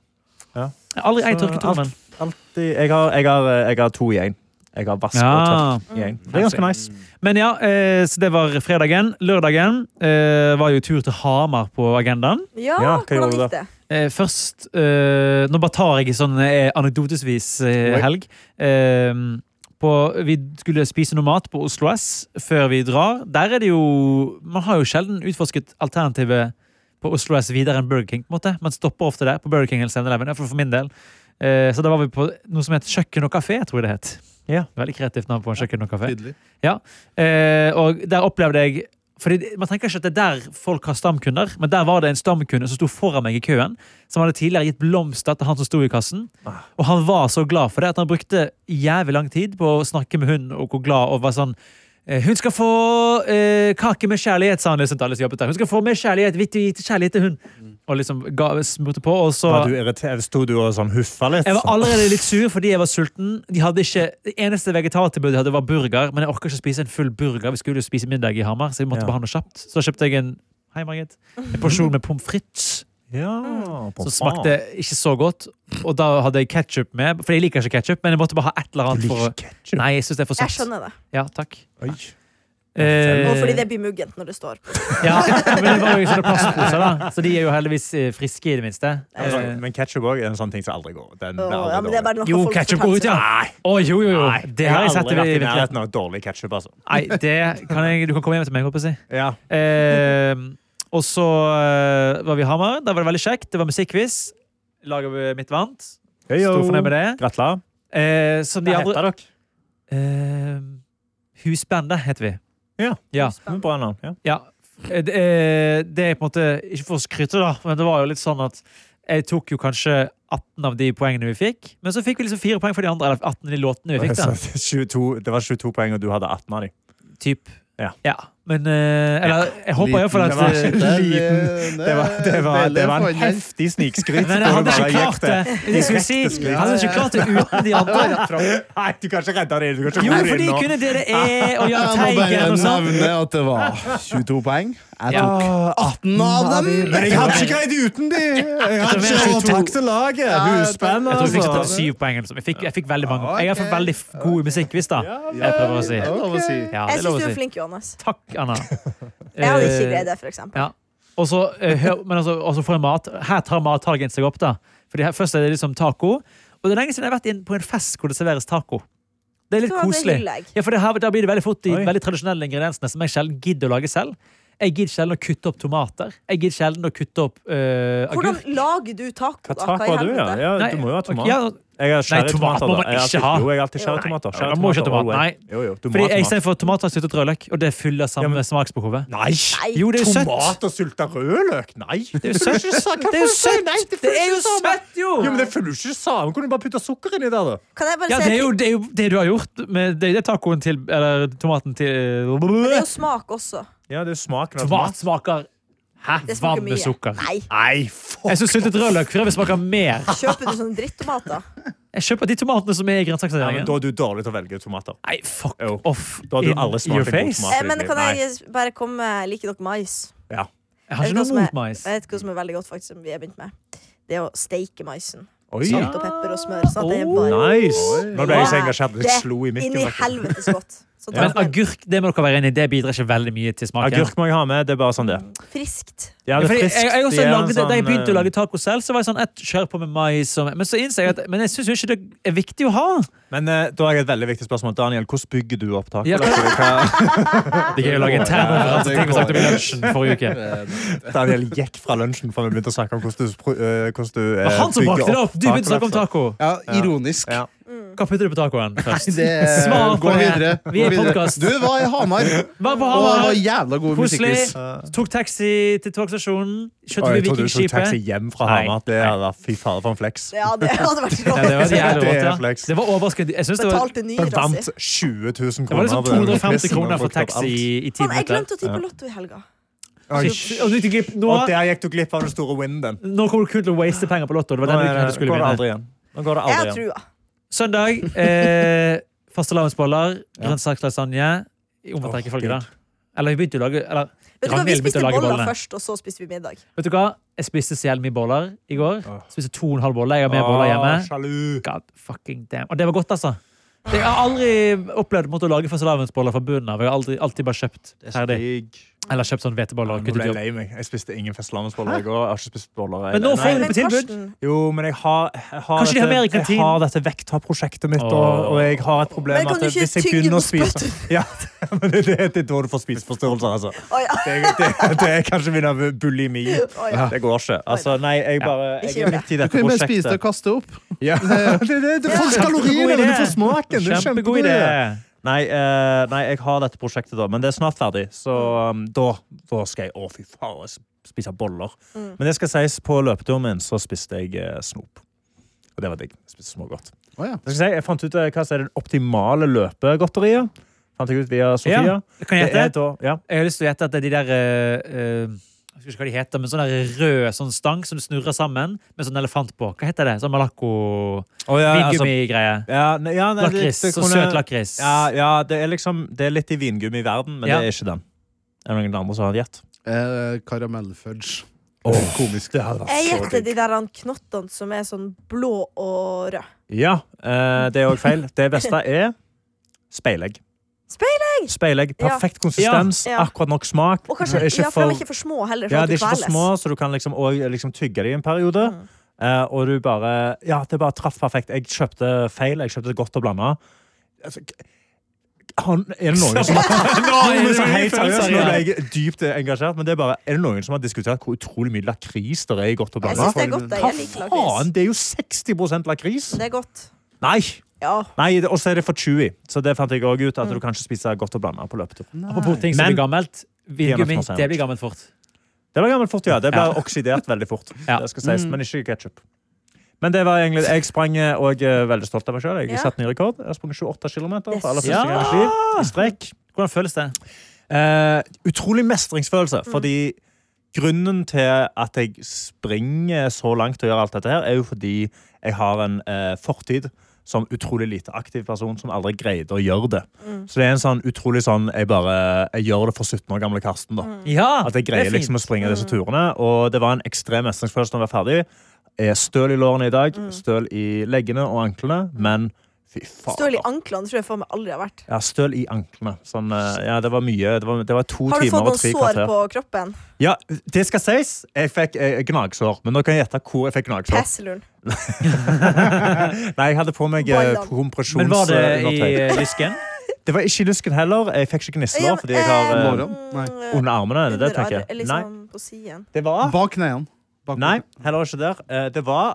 [SPEAKER 5] Jeg har Aldri ei
[SPEAKER 3] Så
[SPEAKER 5] tørketrommel.
[SPEAKER 3] Alltid Jeg har, jeg har, eh, jeg har to i én. Jeg har vask
[SPEAKER 5] Ja. Mm.
[SPEAKER 3] og tørk i én. Det er ganske nice.
[SPEAKER 5] Men ja, eh, så det var fredagen. Lørdagen eh, var jo tur til Hamar på agendaen.
[SPEAKER 2] Ja,
[SPEAKER 3] Ja, hva
[SPEAKER 2] hvordan
[SPEAKER 3] gjorde du
[SPEAKER 2] gikk det?
[SPEAKER 5] Eh, først eh, Nå bare tar jeg i sånn eh, anekdotesvis eh,
[SPEAKER 3] Oi.
[SPEAKER 5] helg. Eh, på, vi skulle spise noe mat på Oslo S før vi drar. Der er det jo Man har jo sjelden utforsket alternativet på Oslo S videre enn Burger King. på en måte. Man stopper ofte der på Burger King eller 7-Eleven. i hvert fall For min del. Eh, så da var vi på noe som het Kjøkken og kafé, tror jeg det het.
[SPEAKER 3] Ja.
[SPEAKER 5] Veldig kreativt navn på en kjøkken og kafé.
[SPEAKER 4] Tydelig.
[SPEAKER 5] Eh, og der opplevde jeg fordi det- Man tenker ikke at det er der folk har stamkunder, men der var det en stamkunde som sto foran meg i køen, som hadde tidligere gitt blomster til han som sto i kassen.
[SPEAKER 3] Ah.
[SPEAKER 5] Og han var så glad for det at han brukte jævlig lang tid på å snakke med hun og hvor glad og var sånn eh, hun skal få eh, kake med kjærlighet, sa han. liksom til alle som jobbet der. Hun skal få med kjærlighet, vitt og gitt kjærlighet til hun. Og liksom ga, smurte på. Og så
[SPEAKER 3] Mm. Var du irritert? Sto du og sånn huffa litt?
[SPEAKER 5] jeg var allerede litt sur fordi jeg var sulten. De hadde ikke, det eneste vegetartilbudet de hadde, var burger. Men jeg orker ikke å spise en full burger. Vi skulle jo spise middag i Hamar, så vi måtte
[SPEAKER 3] Ja.
[SPEAKER 5] bare ha noe kjapt. Så kjøpte jeg en Hei, Margit. En porsjon med pommes frites,
[SPEAKER 3] Ja,
[SPEAKER 5] som smakte ikke så godt. og da hadde jeg ketsjup med. For jeg liker ikke ketsjup, men jeg måtte bare ha et eller annet. for å...
[SPEAKER 3] ketchup.
[SPEAKER 5] Nei, jeg syns det er for
[SPEAKER 2] Jeg
[SPEAKER 5] søtt.
[SPEAKER 2] skjønner det.
[SPEAKER 5] Ja, takk.
[SPEAKER 3] Oi.
[SPEAKER 5] Eh,
[SPEAKER 2] Og fordi det blir muggent når det står.
[SPEAKER 5] ja, men det var jo sånne plastposer, da. Så de er jo heldigvis eh, friske, i det minste.
[SPEAKER 3] Men
[SPEAKER 5] Eh.
[SPEAKER 3] sånn- Men ketchup også er en sånn ting som aldri går. Den blir
[SPEAKER 2] Åh,
[SPEAKER 3] aldri
[SPEAKER 2] ja, men det er
[SPEAKER 3] dårlig.
[SPEAKER 2] bare noe
[SPEAKER 5] Jo,
[SPEAKER 2] folk
[SPEAKER 5] ketsjup
[SPEAKER 2] fortalte
[SPEAKER 5] går ut, ja!
[SPEAKER 2] seg.
[SPEAKER 5] Nei. Å, jo, jo, jo.
[SPEAKER 3] Nei,
[SPEAKER 5] Det har jeg sett.
[SPEAKER 3] aldri vært i
[SPEAKER 5] virkelig.
[SPEAKER 3] nærheten av dårlig ketsjup, altså.
[SPEAKER 5] Nei, det kan jeg, du kan komme hjem til meg, holdt på å si.
[SPEAKER 3] Ja.
[SPEAKER 5] Eh, og så eh, var vi i Hamar. Der var det veldig kjekt. Det var musikkquiz. Laget mitt vant. Stor fornøyd med det.
[SPEAKER 3] Gratulerer.
[SPEAKER 5] Eh, som de
[SPEAKER 3] Hva heter
[SPEAKER 5] andre
[SPEAKER 3] dere?
[SPEAKER 5] eh, Husbandet heter vi.
[SPEAKER 3] Ja.
[SPEAKER 5] Ja.
[SPEAKER 3] Mm, Bra navn. Ja.
[SPEAKER 5] ja. Eh, Det, eh, det er på en måte Ikke for å skryte, da, men det var jo litt sånn at jeg tok jo kanskje 18 av de poengene vi fikk, men så fikk vi liksom fire poeng for de andre. Eller 18 av de låtene vi fikk, da.
[SPEAKER 3] Så 22, det var 22 poeng, og du hadde 18 av dem.
[SPEAKER 5] Typ.
[SPEAKER 3] Ja.
[SPEAKER 5] Men eh, Eller jeg håper iallfall at eh,
[SPEAKER 3] Det var- eh,
[SPEAKER 4] Liten.
[SPEAKER 3] Det var, det var, det var en
[SPEAKER 4] Veldig fornøyd.
[SPEAKER 3] heftig snikskryt.
[SPEAKER 5] Men
[SPEAKER 3] hvor du
[SPEAKER 5] jeg hadde
[SPEAKER 3] bare
[SPEAKER 5] ikke
[SPEAKER 3] gikk
[SPEAKER 5] klart det. Det skulle jeg si. Jeg hadde ikke klart det uten de andre.
[SPEAKER 3] Nei, du kan ikke redde det. Du kan ikke
[SPEAKER 5] Jo,
[SPEAKER 3] ro det
[SPEAKER 5] for
[SPEAKER 3] inn
[SPEAKER 5] de
[SPEAKER 3] nå.
[SPEAKER 5] kunne DDE og Jahn
[SPEAKER 4] Jeg må bare
[SPEAKER 5] Teigen og sånn.
[SPEAKER 4] nevne at det var 22 poeng. Jeg
[SPEAKER 5] Ja.
[SPEAKER 4] tok 18 av dem!
[SPEAKER 3] Men jeg hadde ikke greid uten de! Jeg hadde
[SPEAKER 5] Jeg tror vi
[SPEAKER 3] ikke,
[SPEAKER 5] er 22.
[SPEAKER 3] takk til laget! Husband,
[SPEAKER 5] Jeg tror jeg fikk
[SPEAKER 3] altså.
[SPEAKER 5] sånn syv poeng. eller noe sånt. Jeg fikk, jeg fikk veldig mange. Jeg er
[SPEAKER 4] Ok.
[SPEAKER 5] for veldig f- god i musikkquiz, da. Jeg prøver å si.
[SPEAKER 4] Det er lov å si.
[SPEAKER 5] Ja, det
[SPEAKER 2] Jeg syns
[SPEAKER 5] er lov
[SPEAKER 2] du
[SPEAKER 5] å
[SPEAKER 2] er
[SPEAKER 5] si. Eh,
[SPEAKER 2] flink, Johannes.
[SPEAKER 5] Takk, Anna.
[SPEAKER 2] Jeg hadde ikke greid det, for eksempel.
[SPEAKER 5] Ja. Og så eh, hør- men altså, og så får jeg mat. Her tar mathagen seg opp, da. Fordi her, først er det liksom taco. Og det er lenge siden jeg har vært inn på en fest hvor det serveres taco. Det er litt
[SPEAKER 2] Så det
[SPEAKER 5] koselig.
[SPEAKER 2] hyller jeg.
[SPEAKER 5] Ja, for det her, Da blir det veldig fort de
[SPEAKER 3] Oi.
[SPEAKER 5] veldig tradisjonelle ingrediensene som jeg sjelden gidder å lage selv. Jeg gidder sjelden å kutte opp tomater. Jeg gidder sjelden å kutte opp øh,
[SPEAKER 2] Hvordan
[SPEAKER 5] agurk.
[SPEAKER 2] lager du taco,
[SPEAKER 3] Hva
[SPEAKER 2] da?
[SPEAKER 3] taco
[SPEAKER 2] i
[SPEAKER 3] har du, ja?
[SPEAKER 2] helvete?
[SPEAKER 3] ja?
[SPEAKER 5] Nei,
[SPEAKER 3] Du må jo ha
[SPEAKER 5] ok,
[SPEAKER 3] tomat.
[SPEAKER 5] ja,
[SPEAKER 3] Jeg har skjære
[SPEAKER 5] Nei, tomat
[SPEAKER 3] tomater.
[SPEAKER 5] må
[SPEAKER 3] da.
[SPEAKER 5] man
[SPEAKER 3] Jeg har
[SPEAKER 5] ikke
[SPEAKER 3] alltid-
[SPEAKER 5] ha.
[SPEAKER 3] Jo, jeg har alltid skjære
[SPEAKER 5] Nei,
[SPEAKER 3] tomater.
[SPEAKER 5] man må ikke ha tomat,
[SPEAKER 3] always.
[SPEAKER 5] nei.
[SPEAKER 3] Jo, jo, du må
[SPEAKER 5] Fordi
[SPEAKER 3] ha
[SPEAKER 5] jeg
[SPEAKER 3] tomat.
[SPEAKER 5] Istedenfor tomater har jeg suttet rødløk, og det fyller samme smaksbehovet.
[SPEAKER 3] Nei!
[SPEAKER 5] Jo, det er jo søtt.
[SPEAKER 3] Tomat og sylta rødløk? Nei!
[SPEAKER 5] Det er jo søtt. Det er jo søtt. Det er jo søtt, jo!
[SPEAKER 3] Jo, men Det følger jo ikke det samme. Kunne du bare putta sukker inni der, da?
[SPEAKER 2] Kan jeg bare
[SPEAKER 5] Ja,
[SPEAKER 2] si at
[SPEAKER 5] det er jo det, er jo det du har gjort med det, det er tacoen til Eller tomaten til øh,
[SPEAKER 2] det er jo smak også.
[SPEAKER 3] Ja, det er jo smaken av
[SPEAKER 5] Tomat smaker Hæ?
[SPEAKER 2] Det smaker
[SPEAKER 5] Vann
[SPEAKER 2] mye.
[SPEAKER 5] med sukker.
[SPEAKER 2] Nei.
[SPEAKER 3] Nei, fuck!
[SPEAKER 5] Jeg syns syltet rødløk for øvrig smaker mer.
[SPEAKER 2] Kjøper du sånn sånne drittomater?
[SPEAKER 5] Jeg kjøper de tomatene som er i
[SPEAKER 3] Ja, men
[SPEAKER 5] grønnsaksavdelingen.
[SPEAKER 3] da er du dårlig til å velge tomater.
[SPEAKER 5] Nei, fuck
[SPEAKER 3] Jo.
[SPEAKER 5] off
[SPEAKER 3] Da hadde du
[SPEAKER 5] in
[SPEAKER 3] aldri smakt en
[SPEAKER 5] your
[SPEAKER 3] god
[SPEAKER 5] face.
[SPEAKER 3] tomat.
[SPEAKER 2] Eh, Men kan jeg bare komme Liker dere mais?
[SPEAKER 3] Ja.
[SPEAKER 5] Jeg har
[SPEAKER 2] Vet
[SPEAKER 5] ikke
[SPEAKER 2] du hva som
[SPEAKER 5] noe
[SPEAKER 2] er-
[SPEAKER 5] mot mais.
[SPEAKER 2] Jeg vet ikke hva som er veldig godt, faktisk, som vi har begynt med. Det er å steike maisen.
[SPEAKER 3] Oi.
[SPEAKER 2] Salt og pepper og smør. Sånn at det er
[SPEAKER 5] Oh,
[SPEAKER 2] bare
[SPEAKER 3] Nice! Nå ble jeg så engasjert at
[SPEAKER 2] Det
[SPEAKER 3] jeg
[SPEAKER 2] er
[SPEAKER 3] slo i
[SPEAKER 2] Inn i
[SPEAKER 3] mikken. faktisk.
[SPEAKER 2] helvetes godt. Sånn Så
[SPEAKER 5] Men
[SPEAKER 2] tar man
[SPEAKER 5] agurk det må dere være enig i, det bidrar ikke veldig mye til smaken.
[SPEAKER 3] Agurk må jeg ha med. Det er bare sånn det.
[SPEAKER 2] friskt.
[SPEAKER 3] Ja,
[SPEAKER 5] Ja,
[SPEAKER 3] det er
[SPEAKER 5] fordi jeg,
[SPEAKER 3] friskt,
[SPEAKER 5] jeg også
[SPEAKER 3] det er en
[SPEAKER 5] lagde, da jeg
[SPEAKER 3] sånn,
[SPEAKER 5] begynte å
[SPEAKER 3] eh,
[SPEAKER 5] lage taco selv, så var jeg sånn jeg kjører på med mais. Og, men så innså jeg at Men jeg syns jo ikke det er viktig å ha.
[SPEAKER 3] Men eh, da har jeg et veldig viktig spørsmål. Daniel, hvordan bygger du opp taco?
[SPEAKER 5] Ja,
[SPEAKER 3] Hva-
[SPEAKER 5] Det er gøy å lage en termoreferanse til ting vi snakket om i lunsjen forrige uke.
[SPEAKER 3] Daniel gikk fra lunsjen for vi begynte å snakke om hvordan du, spro- eh, hvordan du
[SPEAKER 5] Det var han som brakte det opp! Du begynte å snakke om
[SPEAKER 3] taco.
[SPEAKER 5] taco.
[SPEAKER 4] Ja, ironisk.
[SPEAKER 3] Ja.
[SPEAKER 5] Hva putter du på tacoen først?
[SPEAKER 4] Det,
[SPEAKER 5] Svar på
[SPEAKER 4] gå
[SPEAKER 5] det.
[SPEAKER 4] videre.
[SPEAKER 5] Vi er i
[SPEAKER 4] Gå videre.
[SPEAKER 5] podcast.
[SPEAKER 4] Du var i Hamar,
[SPEAKER 5] Var på
[SPEAKER 4] og det var
[SPEAKER 5] Hamar,
[SPEAKER 4] jævla god
[SPEAKER 5] koselig.
[SPEAKER 4] musikkquiz.
[SPEAKER 5] Tok taxi til togstasjonen.
[SPEAKER 3] Oi,
[SPEAKER 5] Kjørte forbi
[SPEAKER 3] Jeg trodde du tok taxi
[SPEAKER 5] Vikingskipet.
[SPEAKER 3] hjem fra
[SPEAKER 5] Nei.
[SPEAKER 3] Hamar. Det er fy fader for en flex.
[SPEAKER 2] Ja, det hadde vært
[SPEAKER 5] Ja, det
[SPEAKER 2] rått.
[SPEAKER 5] var
[SPEAKER 3] Det er
[SPEAKER 5] jævlig rått, ja.
[SPEAKER 3] flex.
[SPEAKER 5] Det var overraskende. Jeg synes det var,
[SPEAKER 2] Betalte
[SPEAKER 3] Jeg
[SPEAKER 2] nyra
[SPEAKER 3] vant
[SPEAKER 2] si.
[SPEAKER 3] 20 000 kroner.
[SPEAKER 5] det var liksom
[SPEAKER 3] på den quizen,
[SPEAKER 5] 250 kroner
[SPEAKER 3] og brukte
[SPEAKER 5] for
[SPEAKER 3] opp
[SPEAKER 5] taxi
[SPEAKER 3] alt.
[SPEAKER 5] i ti
[SPEAKER 2] Faen, jeg
[SPEAKER 5] minutter.
[SPEAKER 2] glemte å tippe Lotto i helga.
[SPEAKER 3] Oi,
[SPEAKER 5] Shit, Og du gikk glipp nå.
[SPEAKER 3] Og der gikk du glipp av den store winden.
[SPEAKER 5] Nå kommer du kun til å waste penger på Lotto. Det var
[SPEAKER 3] Nå
[SPEAKER 5] den
[SPEAKER 3] er
[SPEAKER 5] uken du
[SPEAKER 3] det-
[SPEAKER 5] skulle
[SPEAKER 3] går det
[SPEAKER 5] vinne.
[SPEAKER 3] aldri igjen. Nå går det
[SPEAKER 2] Jeg har
[SPEAKER 3] aldri igjen.
[SPEAKER 2] trua.
[SPEAKER 5] Søndag eh, fastelavnsboller, grønnsakerslasagne i omvendt
[SPEAKER 3] Åh,
[SPEAKER 5] rekkefølge.
[SPEAKER 3] Gud.
[SPEAKER 5] da. Eller vi begynte å lage eller,
[SPEAKER 2] Vet du hva, Vi
[SPEAKER 5] Ragnhild begynte
[SPEAKER 2] spiste
[SPEAKER 5] å lage
[SPEAKER 2] boller
[SPEAKER 5] bollene.
[SPEAKER 2] først, og så spiste vi middag.
[SPEAKER 5] Vet du hva? Jeg spiste så jævlig mye boller i går. Spiste to og en halv bolle. Jeg har mer
[SPEAKER 3] Åh,
[SPEAKER 5] boller hjemme.
[SPEAKER 3] Sjalu.
[SPEAKER 5] God fucking damn. Og det var godt, altså. Det, jeg har aldri opplevd måtte å lage fastelavnsboller fra bunnen av. Jeg har aldri, alltid bare kjøpt ferdig. Eller kjøpt sånn
[SPEAKER 3] Nå
[SPEAKER 5] hveteboller. og
[SPEAKER 3] ble
[SPEAKER 5] kuttet
[SPEAKER 3] jeg
[SPEAKER 5] de opp.
[SPEAKER 3] lei meg. Jeg spiste ingen festlavnsboller i går. Jeg har ikke spist boller.
[SPEAKER 5] Men nå
[SPEAKER 3] Nei,
[SPEAKER 5] får
[SPEAKER 3] nei.
[SPEAKER 5] du det på tilbud.
[SPEAKER 3] Jo, men jeg har, jeg har
[SPEAKER 5] Kanskje de har
[SPEAKER 3] dette-
[SPEAKER 5] mer i kantinen?
[SPEAKER 3] Jeg har dette vekttapprosjektet mitt, og, og jeg har et problem
[SPEAKER 2] Men kan
[SPEAKER 3] at
[SPEAKER 2] du ikke
[SPEAKER 3] hvis jeg
[SPEAKER 2] tygge
[SPEAKER 3] begynner å
[SPEAKER 2] på
[SPEAKER 3] spise ja, men det, det, det er da du får spiseforstyrrelser, altså.
[SPEAKER 2] Å, ja.
[SPEAKER 3] Det, det, det er kanskje min av bulimi.
[SPEAKER 2] Å, ja.
[SPEAKER 3] Det går ikke. Altså, nei, jeg bare
[SPEAKER 2] Ikke
[SPEAKER 3] Jeg
[SPEAKER 2] gjør
[SPEAKER 3] er midt i
[SPEAKER 4] Du
[SPEAKER 3] dette
[SPEAKER 4] kan jo bare spise det
[SPEAKER 3] prosjektet.
[SPEAKER 4] og kaste
[SPEAKER 3] Ja. Det,
[SPEAKER 4] opp.
[SPEAKER 3] det, det får kaloriene, men du får smaken. Det er
[SPEAKER 5] Kjempegod idé.
[SPEAKER 3] Nei, eh, nei, jeg har dette prosjektet, da, men det er snart ferdig. Så um, da, da skal jeg Å, fy faen, jeg spise boller. Men det skal sies, på løpeturen min så spiste jeg eh, snop. Og det var digg. Jeg Spiste smågodt.
[SPEAKER 4] Å, ja.
[SPEAKER 3] Jeg, skal si, jeg fant ut eh, hva som er det optimale løpegodteriet. Fant jeg ut via Sofia.
[SPEAKER 5] Ja, Kan jeg
[SPEAKER 3] Det er
[SPEAKER 5] gjette?
[SPEAKER 3] da, ja.
[SPEAKER 5] Jeg har lyst til å gjette at det er de der eh, eh, Jeg husker ikke hva de heter, men sånn der rød sånn stang som du snurrer sammen med sånn elefant på. Hva heter det? Sånn malakko-vindgummi-greie.
[SPEAKER 3] Å, ja, altså, ja, nei, ja, nei, det-
[SPEAKER 5] Lakris.
[SPEAKER 3] det
[SPEAKER 5] Sånn
[SPEAKER 3] kunne-
[SPEAKER 5] søt lakris.
[SPEAKER 3] Ja, ja, det er liksom Det er litt i vingummi-verden, men
[SPEAKER 5] Ja.
[SPEAKER 3] det er ikke den. Er det noen andre som har en gjett?
[SPEAKER 4] Eh, Karamellfudge. komisk.
[SPEAKER 3] Det
[SPEAKER 2] Jeg
[SPEAKER 3] hadde vært så
[SPEAKER 2] gjetter
[SPEAKER 3] digg.
[SPEAKER 2] de der han knottene som er sånn blå og rød.
[SPEAKER 3] Ja, eh, det er òg feil. Det beste er speilegg.
[SPEAKER 2] Speilegg!
[SPEAKER 3] Speilegg,
[SPEAKER 2] Ja.
[SPEAKER 3] Perfekt konsistens,
[SPEAKER 2] Ja.
[SPEAKER 3] akkurat nok smak.
[SPEAKER 2] Og kanskje,
[SPEAKER 3] Det er
[SPEAKER 2] ja, for de er ikke for små heller. sånn
[SPEAKER 3] ja,
[SPEAKER 2] at
[SPEAKER 3] de er
[SPEAKER 2] du
[SPEAKER 3] ikke for
[SPEAKER 2] kveles. Mm.
[SPEAKER 3] små, så du kan liksom, og, liksom tygge dem i en periode. Eh, og du bare Ja, det bare traff perfekt. Jeg kjøpte feil. Jeg kjøpte godt og blanda. Altså, k- han, er det noen som Nå er det liksom helt seriøst, nå ble jeg dypt engasjert, men det er bare Er det noen som har diskutert hvor utrolig mye lakris det er i godt og
[SPEAKER 2] Jeg
[SPEAKER 3] blanda?
[SPEAKER 2] syns det er godt. da. Jeg liker lakris.
[SPEAKER 3] Faen, det er jo 60 lakris!
[SPEAKER 2] Det er godt.
[SPEAKER 3] Nei!
[SPEAKER 2] Ja.
[SPEAKER 3] Nei, det- Og så er det for chewy. Så det fant jeg også ut,
[SPEAKER 2] Mm.
[SPEAKER 3] at du kan ikke spise godt og blanda på løpetur.
[SPEAKER 5] Apropos ting som
[SPEAKER 3] Men-
[SPEAKER 5] blir gammelt. Vingummi
[SPEAKER 3] Peanut
[SPEAKER 5] det blir gammelt fort.
[SPEAKER 3] Det var gammelt fort, ja. Det ble
[SPEAKER 5] Ja.
[SPEAKER 3] oksidert veldig fort.
[SPEAKER 5] Ja.
[SPEAKER 3] Det skal sies, Men ikke ketsjup. Men det var egentlig, jeg sprang eh, og jeg er veldig stolt av meg sjøl. Jeg
[SPEAKER 2] Ja.
[SPEAKER 3] har satt ny rekord. Jeg har sprunget 28 km for aller første
[SPEAKER 5] Ja!
[SPEAKER 3] gang i mitt liv. I strekk.
[SPEAKER 5] Hvordan føles det?
[SPEAKER 3] Eh, utrolig mestringsfølelse. Fordi grunnen til at jeg springer så langt og gjør alt dette her, er jo fordi jeg har en eh, fortid som utrolig lite aktiv person som aldri greide å gjøre det. Så det er en sånn utrolig sånn Jeg bare, jeg gjør det for 17 år gamle Karsten, da.
[SPEAKER 5] Ja,
[SPEAKER 3] At jeg greier liksom å springe
[SPEAKER 2] Mm.
[SPEAKER 3] disse turene. Og det var en ekstrem mestringsfølelse når jeg var ferdig. Jeg er støl i lårene i
[SPEAKER 2] Mm.
[SPEAKER 3] dag, støl i leggene og anklene, men fy faen.
[SPEAKER 2] Støl i anklene tror jeg faen meg aldri har vært.
[SPEAKER 3] ja, støl i anklene. Sånn, eh, ja, det var mye. Det var, det var to
[SPEAKER 2] Har du fått
[SPEAKER 3] timer og
[SPEAKER 2] noen
[SPEAKER 3] tre
[SPEAKER 2] sår
[SPEAKER 3] kvarter.
[SPEAKER 2] på kroppen?
[SPEAKER 3] Ja, det skal sies. Jeg fikk eh, gnagsår. Men nå kan jeg gjette hvor jeg fikk gnagsår.
[SPEAKER 2] Pesseluren.
[SPEAKER 3] Nei, jeg hadde på meg eh,
[SPEAKER 2] Ballene.
[SPEAKER 5] Men var det i
[SPEAKER 3] kompresjonsundertøy.
[SPEAKER 5] eh, lysken?
[SPEAKER 3] Det var ikke i lysken heller. Jeg fikk ikke gnisselår fordi jeg har eh,
[SPEAKER 4] Låret? Nei.
[SPEAKER 3] under armene. er det det du tenker?
[SPEAKER 2] armen,
[SPEAKER 3] Nei,
[SPEAKER 2] mm, liksom på siden.
[SPEAKER 3] det
[SPEAKER 5] Ah.
[SPEAKER 3] var
[SPEAKER 4] Bak knærne. Bak
[SPEAKER 3] Nei, heller ikke der. Eh, Det var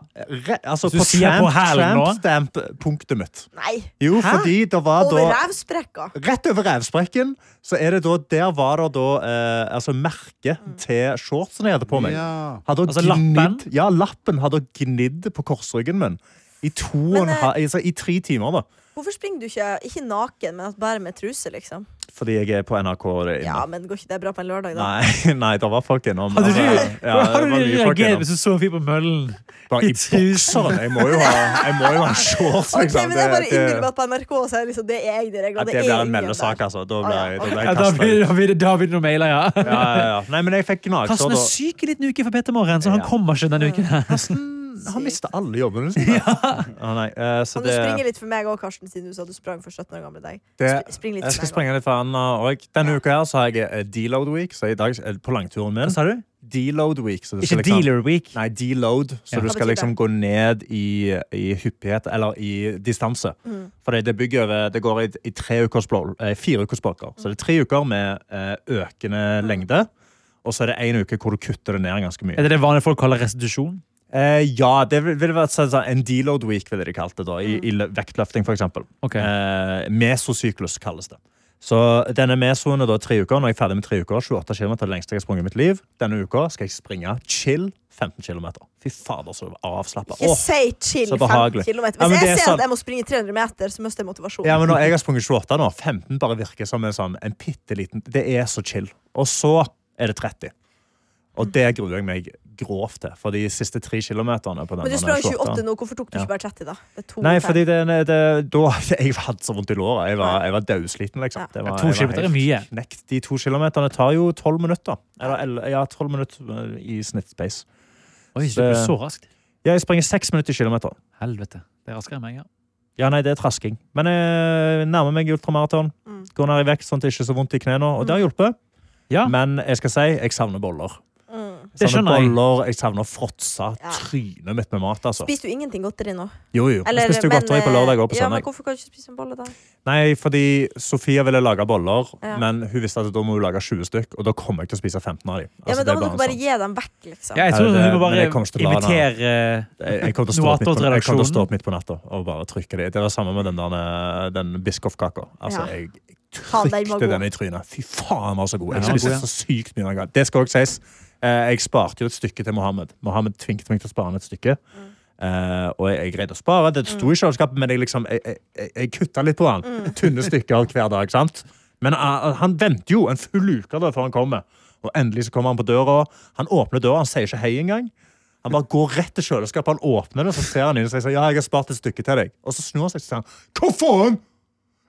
[SPEAKER 3] re altså,
[SPEAKER 5] Du
[SPEAKER 3] på
[SPEAKER 5] sier på
[SPEAKER 3] tramp,
[SPEAKER 5] hælen nå?
[SPEAKER 3] tramp stamp-punktet mitt.
[SPEAKER 2] Nei!
[SPEAKER 3] Jo, fordi det var
[SPEAKER 2] Over
[SPEAKER 3] da
[SPEAKER 2] revsprekka.
[SPEAKER 3] Rett over revsprekken, så er det da Der var det da eh, altså merket til shortsen jeg hadde på meg.
[SPEAKER 4] Ja.
[SPEAKER 3] Hadde hun
[SPEAKER 5] Altså
[SPEAKER 3] gnidd,
[SPEAKER 5] lappen?
[SPEAKER 3] Ja, lappen hadde hun gnidd på korsryggen min. I to og en
[SPEAKER 2] eh,
[SPEAKER 3] halv altså, I tre timer, da.
[SPEAKER 2] Hvorfor springer du ikke ikke naken, men at bare med truse, liksom?
[SPEAKER 3] Fordi jeg er på NRK. og det er
[SPEAKER 2] Ja,
[SPEAKER 3] inne.
[SPEAKER 2] men Går ikke det bra på en lørdag, da?
[SPEAKER 3] Nei, nei, det var folk innom.
[SPEAKER 5] Hadde du,
[SPEAKER 3] Altså, ja,
[SPEAKER 5] hvordan
[SPEAKER 3] det var
[SPEAKER 5] hadde du
[SPEAKER 3] mye folk
[SPEAKER 5] reagert
[SPEAKER 3] innom.
[SPEAKER 5] hvis du så en fyr på møllen?
[SPEAKER 3] Bare i bokseren. Jeg må jo ha, jeg må jo ha shorts.
[SPEAKER 2] Ok,
[SPEAKER 3] liksom.
[SPEAKER 2] men Jeg bare
[SPEAKER 3] Det- det-
[SPEAKER 2] innbiller meg at på NRK så er det liksom, det er egne regler.
[SPEAKER 3] At det blir en
[SPEAKER 2] ingen
[SPEAKER 3] meldesak,
[SPEAKER 2] der.
[SPEAKER 3] altså. Da
[SPEAKER 2] Ah, ja.
[SPEAKER 3] ble, da ble
[SPEAKER 5] Ja,
[SPEAKER 3] jeg
[SPEAKER 5] da blir
[SPEAKER 3] kastet.
[SPEAKER 5] da blir det da blir det noen mailer, ja.
[SPEAKER 3] Ja, ja, ja. Nei, men jeg fikk gnagsår
[SPEAKER 5] Karsten er
[SPEAKER 3] da.
[SPEAKER 5] syk i liten uke for Peter Morgen, så han
[SPEAKER 3] Ja.
[SPEAKER 5] kommer ikke denne uken. her.
[SPEAKER 3] Han mista alle jobbene sine. Å, nei, eh, så
[SPEAKER 2] Kan du
[SPEAKER 3] det,
[SPEAKER 2] springe litt for meg òg, Karsten, siden du sa du sprang for 17 år gamle deg?
[SPEAKER 3] det
[SPEAKER 2] Sp- Spring litt
[SPEAKER 3] Jeg skal
[SPEAKER 2] for meg
[SPEAKER 3] springe litt for Anna òg. Denne uka her så har jeg eh, deload week, så i dag eh, på langturen min
[SPEAKER 5] Hva sa du?
[SPEAKER 3] Deload week. Så du skal
[SPEAKER 5] Ikke
[SPEAKER 3] liksom-
[SPEAKER 5] dealer week.
[SPEAKER 3] Nei, deload. Så
[SPEAKER 5] Ja.
[SPEAKER 3] du
[SPEAKER 2] Hva
[SPEAKER 3] skal
[SPEAKER 2] betyr
[SPEAKER 3] liksom
[SPEAKER 2] det?
[SPEAKER 3] gå ned i, i hyppighet, eller i distanse.
[SPEAKER 2] Mm.
[SPEAKER 3] For det, det bygger over Det går i, i tre ukers blå, eh, fire ukers blokker. Så det er tre uker med eh,
[SPEAKER 2] Mm.
[SPEAKER 3] økende lengde. Og så er det én uke hvor du kutter det ned ganske mye.
[SPEAKER 5] Er det det vanlige folk kaller restitusjon?
[SPEAKER 3] Eh, ja, det vil- ville vært sånn, sånn en deload week, ville de kalt det. da, I, i lø- vektløfting, for eksempel.
[SPEAKER 5] Ok.
[SPEAKER 3] Eh, mesosyklus kalles det. Så denne mesoen er da tre uker. Når jeg er ferdig med tre uker, 28 km det lengste jeg har sprunget i mitt liv. Denne uka skal jeg springe chill 15 km. Fy fader, så avslappa.
[SPEAKER 2] Ikke si chill
[SPEAKER 3] så
[SPEAKER 2] 15
[SPEAKER 3] behagelig.
[SPEAKER 2] km. Hvis
[SPEAKER 3] Ja, men det
[SPEAKER 2] jeg
[SPEAKER 3] er
[SPEAKER 2] ser
[SPEAKER 3] sant.
[SPEAKER 2] at jeg må springe 300 meter, så mister jeg motivasjonen.
[SPEAKER 3] Ja, men når jeg har sprunget 28 nå, 15 bare virker som en, sånn, en pitteliten Det er så chill. Og så er det 30. Og det gruer jeg meg grovt til. For de siste tre kilometerne på
[SPEAKER 2] men
[SPEAKER 3] denne
[SPEAKER 2] du sprang
[SPEAKER 3] 28
[SPEAKER 2] 28 nå, hvorfor tok du
[SPEAKER 3] Ja.
[SPEAKER 2] ikke bare 30, da? Det er to
[SPEAKER 3] Nei,
[SPEAKER 2] fem.
[SPEAKER 3] fordi det, det, da, jeg hadde så vondt i låret. Jeg var, jeg var dødsliten, liksom.
[SPEAKER 2] Ja.
[SPEAKER 3] Det var,
[SPEAKER 5] Ja, to
[SPEAKER 3] jeg var
[SPEAKER 5] kilometer er
[SPEAKER 3] helt
[SPEAKER 5] mye.
[SPEAKER 3] Knekt. De to kilometerne tar jo tolv minutter. Eller, eller, ja, tolv minutter eh, i snittspace.
[SPEAKER 5] Oi,
[SPEAKER 3] Så
[SPEAKER 5] du
[SPEAKER 3] det-
[SPEAKER 5] ble så raskt.
[SPEAKER 3] Ja, jeg springer seks minutter i kilometer.
[SPEAKER 5] Helvete. Det er raskere enn meg, ja.
[SPEAKER 3] Ja, nei, det er trasking. Men jeg nærmer meg ultramaraton.
[SPEAKER 2] Mm.
[SPEAKER 3] Går ned i vekt, sånn at det ikke er så vondt i knærne. Og det har hjulpet.
[SPEAKER 5] Ja.
[SPEAKER 3] Men jeg skal si, jeg savner boller.
[SPEAKER 2] Mm.
[SPEAKER 5] Det
[SPEAKER 3] savner
[SPEAKER 5] skjønner jeg.
[SPEAKER 3] boller, jeg savner fråtsa
[SPEAKER 2] Ja.
[SPEAKER 3] trynet mitt med mat, altså.
[SPEAKER 2] Spiser du ingenting godteri nå?
[SPEAKER 3] Jo, jo.
[SPEAKER 2] Eller,
[SPEAKER 3] jeg spiste jo
[SPEAKER 2] men, eh,
[SPEAKER 3] godteri på lørdag Altså, og på
[SPEAKER 2] ja, men
[SPEAKER 3] søndag.
[SPEAKER 2] hvorfor kan du ikke spise en bolle da?
[SPEAKER 3] Nei, fordi Sofia ville lage boller,
[SPEAKER 2] Ja.
[SPEAKER 3] men hun visste at da må hun lage 20 stykk, og da kommer jeg til å spise 15 av dem.
[SPEAKER 2] ja, men da må dere
[SPEAKER 3] det er bare
[SPEAKER 2] bare
[SPEAKER 3] en sånn-
[SPEAKER 2] gi dem vekk, liksom.
[SPEAKER 5] Ja, jeg tror
[SPEAKER 3] Ja, det-
[SPEAKER 5] hun må
[SPEAKER 3] men
[SPEAKER 5] bare eh,
[SPEAKER 3] jeg kommer ikke til å la henne.
[SPEAKER 5] invitere
[SPEAKER 3] sånn- Jeg- jeg kommer til å stå opp midt på- jeg kommer til å stå opp midt på natta og bare trykke det. Det var samme med den, der, eh, den biskoffkaka. Altså,
[SPEAKER 2] Ja.
[SPEAKER 3] jeg jeg
[SPEAKER 2] Faen, den var
[SPEAKER 3] trykte
[SPEAKER 2] god.
[SPEAKER 3] den i trynet. Fy faen, den var så god. Jeg
[SPEAKER 5] Den var
[SPEAKER 3] spiste
[SPEAKER 5] god, ja.
[SPEAKER 3] så sykt mye. den gangen. Det skal også sies. eh, Jeg sparte jo et stykke til Mohammed. Mohammed tvingte meg til å spare han et stykke. Eh, og jeg, jeg greide å spare. Det sto i kjøleskapet, men jeg, liksom, jeg, jeg- jeg, jeg kutta litt på han. Tynne stykker hver dag. sant? Men eh, han venter jo en full uke da før han kommer. Og endelig så kommer han på døra. Han åpner døra, han sier ikke hei engang. Han bare går rett til kjøleskapet, han åpner det, og så ser han inn og sier ja, jeg har spart et stykke til deg. Og så snur han seg og sier han, hva faen?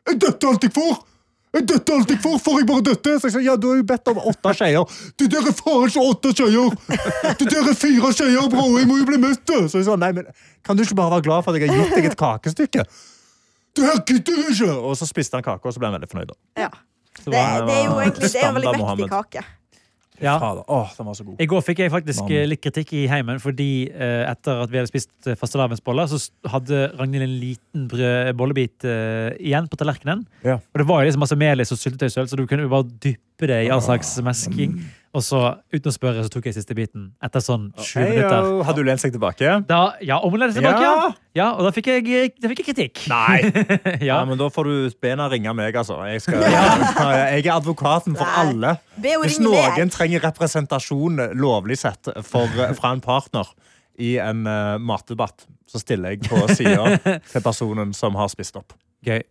[SPEAKER 3] Er dette alt jeg får? Jeg døtter alltid for, får jeg bare døtte? Så jeg sa, ja, du har jo bedt om åtte skeier. Du der er faen ikke åtte skeier! Du der er fire skeier, bro! Jeg må jo bli møtt! du!» Så jeg sa, nei, men kan du ikke bare være glad for at jeg har gitt deg et kakestykke? Det her gidder jeg ikke! Og så spiste han kake, og så ble han veldig fornøyd. da.
[SPEAKER 2] Ja.
[SPEAKER 3] Så
[SPEAKER 2] Det, det er jo egentlig det er jo en veldig
[SPEAKER 3] standard
[SPEAKER 2] mektig
[SPEAKER 3] Mohammed.
[SPEAKER 2] kake.
[SPEAKER 5] Ja.
[SPEAKER 3] Fader, åh, den var så god.
[SPEAKER 5] I går fikk jeg faktisk
[SPEAKER 3] Mann.
[SPEAKER 5] eh, litt kritikk i heimen, fordi eh, etter at vi hadde spist eh, fastelavnsboller, så s- hadde Ragnhild en liten brød, bollebit eh, igjen på tallerkenen.
[SPEAKER 3] Ja.
[SPEAKER 5] Og det var jo liksom masse melis og syltetøysøl, så du kunne jo bare dyppe det i
[SPEAKER 3] Ah.
[SPEAKER 5] all slags
[SPEAKER 3] Mm.
[SPEAKER 5] mesking. Og så, uten å spørre, så tok jeg siste biten etter sånn sju
[SPEAKER 3] Hei,
[SPEAKER 5] minutter.
[SPEAKER 3] yo, Har du lent seg tilbake?
[SPEAKER 5] Da, ja, om hun lærte seg tilbake, ja. ja. Og da fikk jeg, da fikk jeg kritikk.
[SPEAKER 3] Nei!
[SPEAKER 5] Ja.
[SPEAKER 3] Ja, men Da får du bena ringe meg, altså. Jeg, skal, jeg er advokaten for
[SPEAKER 2] Nei.
[SPEAKER 3] alle.
[SPEAKER 2] Be henne
[SPEAKER 3] Hvis
[SPEAKER 2] ringe meg.
[SPEAKER 3] noen trenger representasjon eh, lovlig sett for, eh, fra en partner i en eh, matdebatt, så stiller jeg på sida til personen som har spist opp.
[SPEAKER 5] Gøy.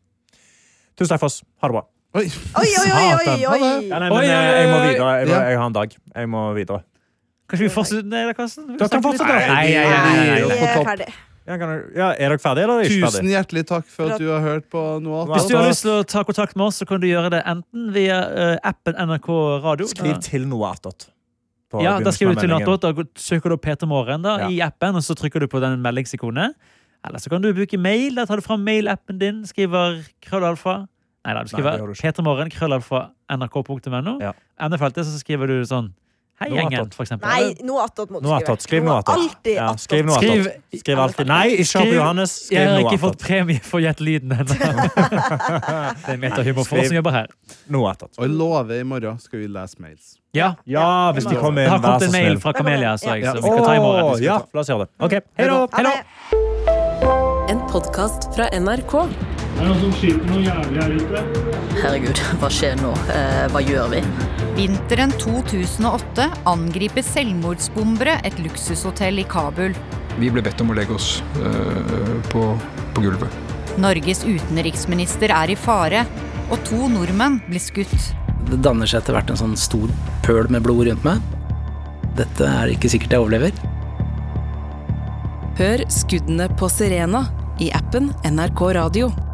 [SPEAKER 3] Tusen takk for oss. Ha det bra.
[SPEAKER 4] Oi.
[SPEAKER 2] Oi, oi, oi,
[SPEAKER 3] Satan.
[SPEAKER 2] oi,
[SPEAKER 4] Ha
[SPEAKER 3] Ja,
[SPEAKER 2] oi.
[SPEAKER 3] nei,
[SPEAKER 5] Oi,
[SPEAKER 3] men, eh,
[SPEAKER 5] oi, oi,
[SPEAKER 3] jeg må
[SPEAKER 5] oi.
[SPEAKER 3] videre. Jeg, må,
[SPEAKER 4] Ja.
[SPEAKER 3] jeg har en dag. Jeg må videre.
[SPEAKER 5] Kanskje vi fortsetter der, Karsten?
[SPEAKER 3] Dere kan fortsette.
[SPEAKER 5] Nei, nei, nei, nei,
[SPEAKER 2] Vi
[SPEAKER 5] nei.
[SPEAKER 4] på
[SPEAKER 2] er
[SPEAKER 4] topp.
[SPEAKER 2] ferdig.
[SPEAKER 3] Ja, kan du, ja, er dere ferdige, eller er dere ikke
[SPEAKER 4] Tusen
[SPEAKER 3] ferdige?
[SPEAKER 4] hjertelig takk for at du har hørt på noe
[SPEAKER 5] Hvis
[SPEAKER 4] alt.
[SPEAKER 5] du har lyst til å ta kontakt med oss, så kan du gjøre det enten via eh, appen NRK Radio.
[SPEAKER 3] Skriv til noe attåt. på
[SPEAKER 5] Ja, da
[SPEAKER 3] begynnelsen
[SPEAKER 5] skriver
[SPEAKER 3] av
[SPEAKER 5] du til
[SPEAKER 3] meldingen.
[SPEAKER 5] Nattåt, da søker du opp Peter Morgen da,
[SPEAKER 3] Ja.
[SPEAKER 5] i appen, og så trykker du på den meldingsikone. Eller så kan du bruke mail. Da tar du fram mailappen din, skriver krøllalfa. Nei da,
[SPEAKER 3] Nei,
[SPEAKER 5] du
[SPEAKER 3] det gjør
[SPEAKER 5] skriver
[SPEAKER 3] du ikke.
[SPEAKER 5] Peter Morgen, krøllalfa, nrk.no.
[SPEAKER 3] Ja.
[SPEAKER 5] Emnefeltet, så skriver du sånn Hei,
[SPEAKER 3] Nå
[SPEAKER 5] gjengen,
[SPEAKER 3] attåt.
[SPEAKER 5] for eksempel.
[SPEAKER 2] Nei, noe attåt må du
[SPEAKER 3] Noe
[SPEAKER 2] skrive.
[SPEAKER 3] attåt. Skriv noe attåt.
[SPEAKER 2] Alltid
[SPEAKER 3] Ja,
[SPEAKER 2] attåt.
[SPEAKER 3] skriv noe
[SPEAKER 5] Skriv-
[SPEAKER 3] attåt. Skriv alltid. Nei, ikke
[SPEAKER 5] Skriv-
[SPEAKER 3] Håper Johannes.
[SPEAKER 5] Jeg
[SPEAKER 3] Skriv
[SPEAKER 5] har
[SPEAKER 3] noe
[SPEAKER 5] ikke fått
[SPEAKER 3] attåt.
[SPEAKER 5] premie for Gjett lyden ennå. det er metahumor for oss som jobber her.
[SPEAKER 3] Noe attåt.
[SPEAKER 4] Og jeg lover, i morgen skal vi lese mails.
[SPEAKER 5] Ja.
[SPEAKER 3] Ja, hvis de kommer
[SPEAKER 5] Det
[SPEAKER 3] inn,
[SPEAKER 5] har
[SPEAKER 3] vær
[SPEAKER 5] kommet
[SPEAKER 3] så
[SPEAKER 5] en mail
[SPEAKER 3] snill.
[SPEAKER 5] fra Kamelia, så jeg,
[SPEAKER 2] Ja.
[SPEAKER 5] som vi skal ta i morgen.
[SPEAKER 3] Åh, Ja, la oss gjøre det. Ok, hei da.
[SPEAKER 2] Ha det.
[SPEAKER 7] En podkast fra NRK.
[SPEAKER 8] Herregud, hva skjer nå? Eh, hva gjør vi?
[SPEAKER 9] Vinteren 2008 angriper selvmordsbombere et luksushotell i Kabul.
[SPEAKER 10] Vi ble bedt om å legge oss eh, på, på gulvet.
[SPEAKER 9] Norges utenriksminister er i fare, og to nordmenn blir skutt.
[SPEAKER 11] Det danner seg etter hvert en sånn stor pøl med blod rundt meg. Dette er ikke sikkert jeg overlever.
[SPEAKER 7] Hør skuddene på Sirena i appen NRK Radio.